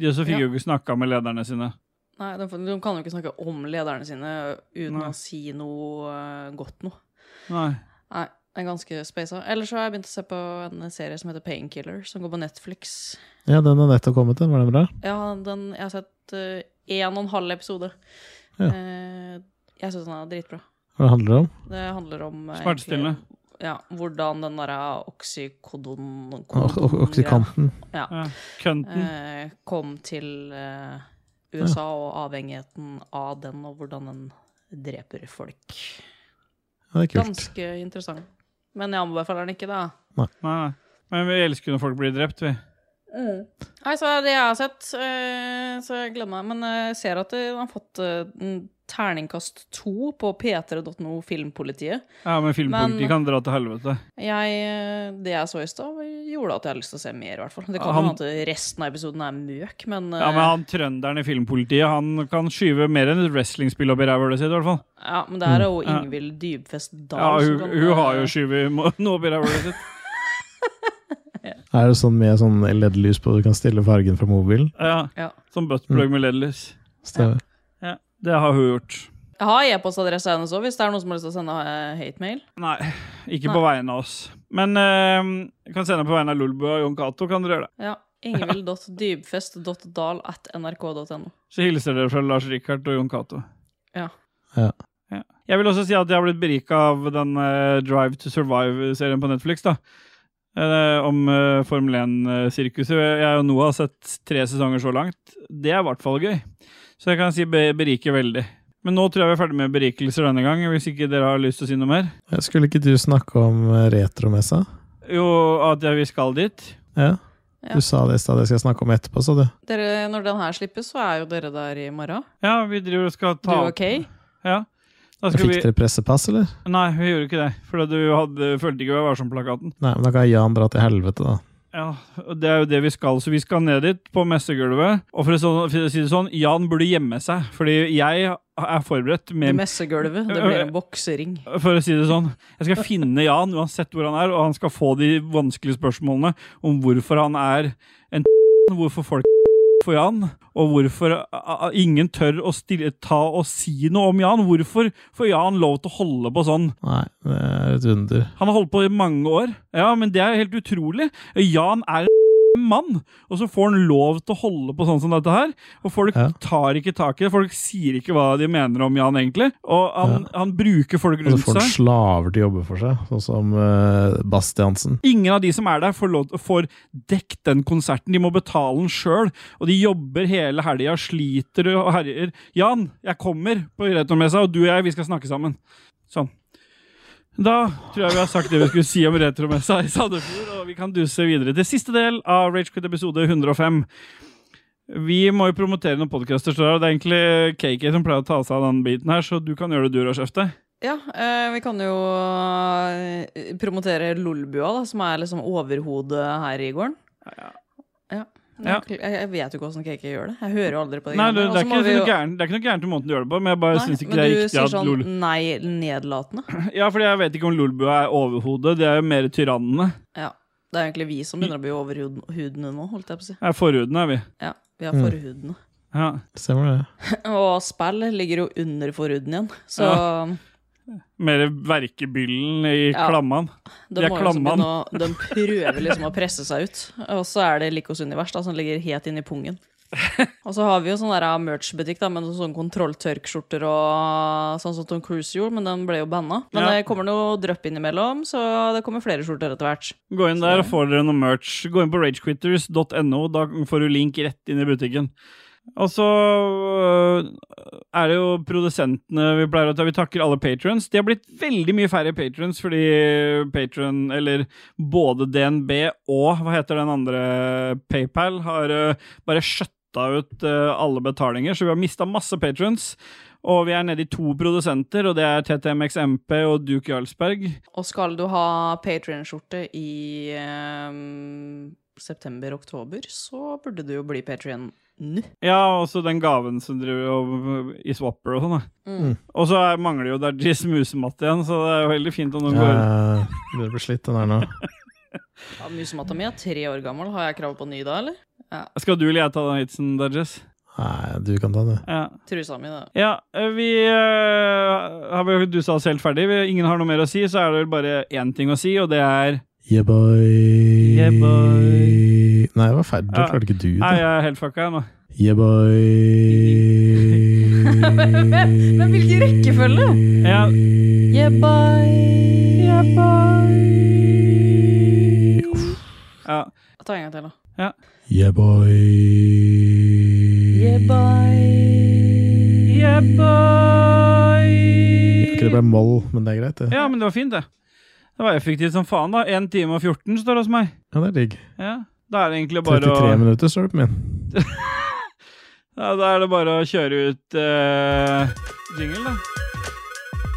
B: De også fikk
A: Ja.
B: jo ikke snakka med lederne sine.
A: Nei, de, de kan jo ikke snakke om lederne sine uten
B: Nei.
A: å si noe eh, godt noe.
B: Nei.
A: Nei, det er ganske spasa. Ellers så har jeg begynt å se på en serie som heter Painkiller, som går på Netflix.
C: Ja, den har nettopp kommet, den. Var den bra?
A: Ja, den, jeg har sett eh, en og en halv episode.
C: Ja.
A: Eh, jeg syns den er dritbra.
C: Hva det handler det om?
A: Det handler om eh,
B: Smertestillende.
A: egentlig- Ja, hvordan den eh, derre oksykodon...
C: Ok- ok- Oksykanten.
A: Ja.
B: Ja, kønten.
A: Eh, kom til eh, USA og avhengigheten av den, og hvordan den dreper folk.
C: Ja, det er kult.
A: Ganske interessant. Men jeg anbefaler den ikke, da.
B: Nei. Men vi elsker når folk blir drept, vi.
A: Nei, så er det jeg har sett, eh, så jeg gleder meg. Men eh, jeg ser at den har fått eh, en terningkast to på p3.no Filmpolitiet.
B: Ja, men filmpolitiet
A: Men-
B: kan dra til helvete.
A: Jeg, eh, det jeg så i stad, gjorde at jeg har lyst til å se mer, i hvert fall. Det kan
B: Ja,
A: jo
B: han-
A: hende at resten av episoden er møk, men, eh,
B: Ja, men han trønderen i filmpolitiet, han kan skyve mer enn et wrestlingspill opp i rævhølet sitt, i hvert fall.
A: ja, men det er jo
B: Mm, Ja.
A: Ingvild Dybfest Dahl
B: Ja,
A: som
B: hun,
A: kan,
B: hun har
A: eh,
B: jo skyvet mo- noe opp i rævhølet sitt.
C: Er det sånn med sånn LED-lys på, du kan stille fargen fra mobilen?
B: Ja. Som buttplug med leddlys.
C: Stemmer.
B: Ja, det har hun gjort.
A: Jeg har e-postadresse hennes òg, hvis det er noen som har lyst til å sende eh, hate-mail.
B: Nei, ikke på vegne av oss. Men eh, jeg kan sende på vegne av Lulbu og Jon Cato, kan dere gjøre det.
A: Ja, Ingvild.dybfest.dal at nrk.no.
B: Så hilser dere fra Lars Rikard og Jon Cato.
A: Ja.
B: Ja. Jeg vil også si at jeg har blitt berika av den eh, Drive to Survive-serien på Netflix. da. eh, om eh, Formel 1-sirkuset. Jeg og Noah har sett tre sesonger så langt. Det er i hvert fall gøy. Så jeg kan si be beriker veldig. Men nå tror jeg vi er ferdig med berikelser denne gang, hvis ikke dere har lyst til å si noe mer.
C: Jeg skulle ikke du snakke om eh, retromessa?
B: Jo, at vi skal dit.
C: Ja.
A: Ja.
C: Du sa det i stad, det skal jeg snakke om etterpå, sa du.
A: Dere, når den her slippes, så er jo dere der i morgen.
B: Ja, vi driver og skal
A: Du
B: ta
A: og Kay.
B: Ja. Da skal
C: Fikk
B: vi
C: dere pressepass, eller?
B: Nei, vi gjorde ikke det. For du hadde, følte ikke Vær varsom-plakaten.
C: Nei, men da kan Jan dra til helvete, da.
B: Ja, og det er jo det vi skal. Så vi skal ned dit, på messegulvet. Og for å så- for å si det sånn, Jan burde gjemme seg, fordi jeg er forberedt
A: I
B: med
A: messegulvet. Det blir en boksering.
B: For å si det sånn, jeg skal finne Jan uansett hvor han er, og han skal få de vanskelige spørsmålene om hvorfor han er en hvorfor folk for Jan, og hvorfor a- a- ingen tør å stille, ta og si noe om Jan. Hvorfor får Jan lov til å holde på sånn?
C: Nei, det er et under.
B: Han har holdt på i mange år. Ja, men det er helt utrolig. Jan er en mann, og så får han lov til å holde på sånn som dette her. Og folk tar ikke tak i det. Folk sier ikke hva de mener om Jan, egentlig. Og han, han bruker folk
C: Og så
B: rundt
C: får han
B: seg.
C: Altså, slaver til å jobbe for seg, sånn som eh, Bastiansen.
B: Ingen av de som er der, får, lov, får dekt den konserten. De må betale den sjøl. Og de jobber hele helga, sliter og herjer. Jan, jeg kommer på retromessa, og du og jeg, vi skal snakke sammen. Sånn. Da tror jeg vi har sagt det vi skulle si om retromessa i Sandefjord, og vi kan duse videre til siste del av Ragequit episode 105. Vi må jo promotere noen podkaster, og det er egentlig KK som pleier å ta seg av den biten her, så du kan gjøre det du, Rashefte.
A: Ja, eh, vi kan jo eh, promotere Lolbua, da, som er liksom overhodet her i gården. Ja.
B: Ja.
A: Jeg, jeg vet jo ikke åssen Kake gjør det. Jeg hører jo aldri på det.
B: Nei,
A: greiene der.
B: det,
A: Og
B: det, er
A: så må
B: ikke,
A: vi jo-
B: noe gærent- det er ikke noe gærent i måten du gjør det på, men jeg bare
A: Nei,
B: syns ikke
A: men
B: det er
A: du
B: riktig
A: sier
B: at
A: sånn
B: Lol
A: nei nedlatende.
B: Ja, fordi jeg vet ikke om Lolbua er overhodet. Det er jo mer tyrannene.
A: Ja. Det er egentlig vi som begynner å bli overhudene nå, holdt jeg på å si.
B: Det er forhudene, er vi.
A: Ja, vi er
B: Mm.
A: forhudene.
B: Ja.
C: Stemmer det.
A: Og spill ligger jo under forhuden igjen, så
B: Ja. Mer verkebyllen i
A: Ja.
B: klammaen.
A: de,
B: De er
A: må jo liksom begynne
B: klammaen.
A: å, de prøver liksom å presse seg ut. Og så er det Likos univers da, som ligger helt inni pungen. Og så har vi jo sånn der, eh, merch-butikk da, med noen sånne kontrolltørkskjorter og sånn som Tom Cruise gjorde, men den ble jo banna. Men
B: Ja.
A: det kommer noe drypp innimellom, så det kommer flere skjorter etter hvert.
B: Gå inn der og får dere noe merch. Gå inn på ragequitters.no, da får du link rett inn i butikken. Og så øh, er det jo produsentene vi pleier å ta. Vi takker alle patrons. De har blitt veldig mye færre patrons fordi patron, eller både DNB og hva heter den andre, PayPal, har øh, bare skjøtta ut øh, alle betalinger. Så vi har mista masse patrons. Og vi er nede i to produsenter, og det er TTMXMP og Duke Jarlsberg.
A: Og skal du ha Patrion-skjorte i ehm, september-oktober, så burde du jo bli Patrion nå.
B: Ja, og så den gaven som driver og, i Swapper og sånn. da.
A: Mm.
B: Og så er, mangler jo Dajis musematte igjen, så det er jo veldig fint om noen går
C: Jeg begynner å bli slitt, den her nå.
A: Ja, Musematta mi er tre år gammel. Har jeg krav på ny da, eller? Ja.
B: Skal du eller jeg ta den hitsen, Dajis?
C: Nei, du kan ta den, du.
B: Ja.
A: Trusa mi, da.
B: ja, eh, vi øh, har vel dusa oss helt ferdig. Vi- Ingen har noe mer å si, så er det vel bare én ting å si, og det er
C: Yeah, boy.
B: Yeah, boy.
C: Nei, det var feil. Du
B: Ja.
C: klarte ikke du
B: Nei,
C: det.
B: jeg er helt fucka nå.
C: Yeah, boy.
A: Men hvilken rekkefølge?
B: Ja.
A: Yeah, bye.
B: Ja.
A: Ta en gang til, da.
C: Yeah, boy.
A: Yeah, bye.
B: Yeah,
C: Ikke det ble moll, men det er greit, det.
B: ja, men det var fint, det. Det var effektivt som faen, da. 1 time og 14 står det hos meg.
C: Ja, det er digg.
B: Ja, Da er det egentlig bare
C: 33
B: å
C: minutter står det på min.
B: Ja, da er det bare å kjøre ut eh, jingle, da.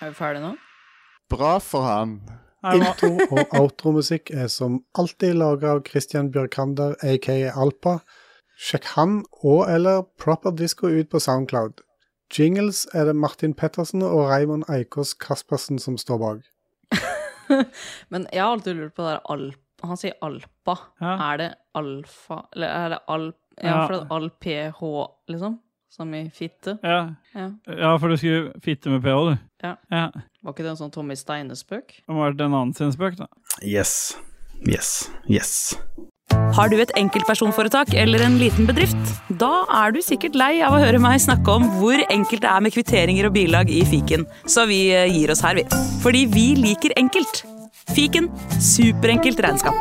A: Er vi ferdige nå?
L: Bra for han.
M: Intro- og outromusikk er som alltid laga av Christian Bjørkander, aka Alpa. Sjekk han og eller Proper Disco ut på Soundcloud. Jingles er det Martin Pettersen og Raymond Eikås Kaspersen som står bak.
A: Men jeg har alltid lurt på det der alp... Han sier alpa. Er det alfa Eller er det alp... Ja,
B: Ja.
A: for det er alph, liksom? Som i fitte?
B: Ja.
A: ja.
B: Ja, for du skulle fitte med ph, du.
A: Ja.
B: Ja.
A: Var ikke det en sånn Tommy Steine-spøk?
B: Det må ha vært en annen sin spøk, da.
N: Yes. Yes. Yes.
O: Har du et enkeltpersonforetak eller en liten bedrift? Da er du sikkert lei av å høre meg snakke om hvor enkelt det er med kvitteringer og bilag i fiken, så eh, vi gir oss her, vi. Fordi vi liker enkelt. Fiken superenkelt regnskap.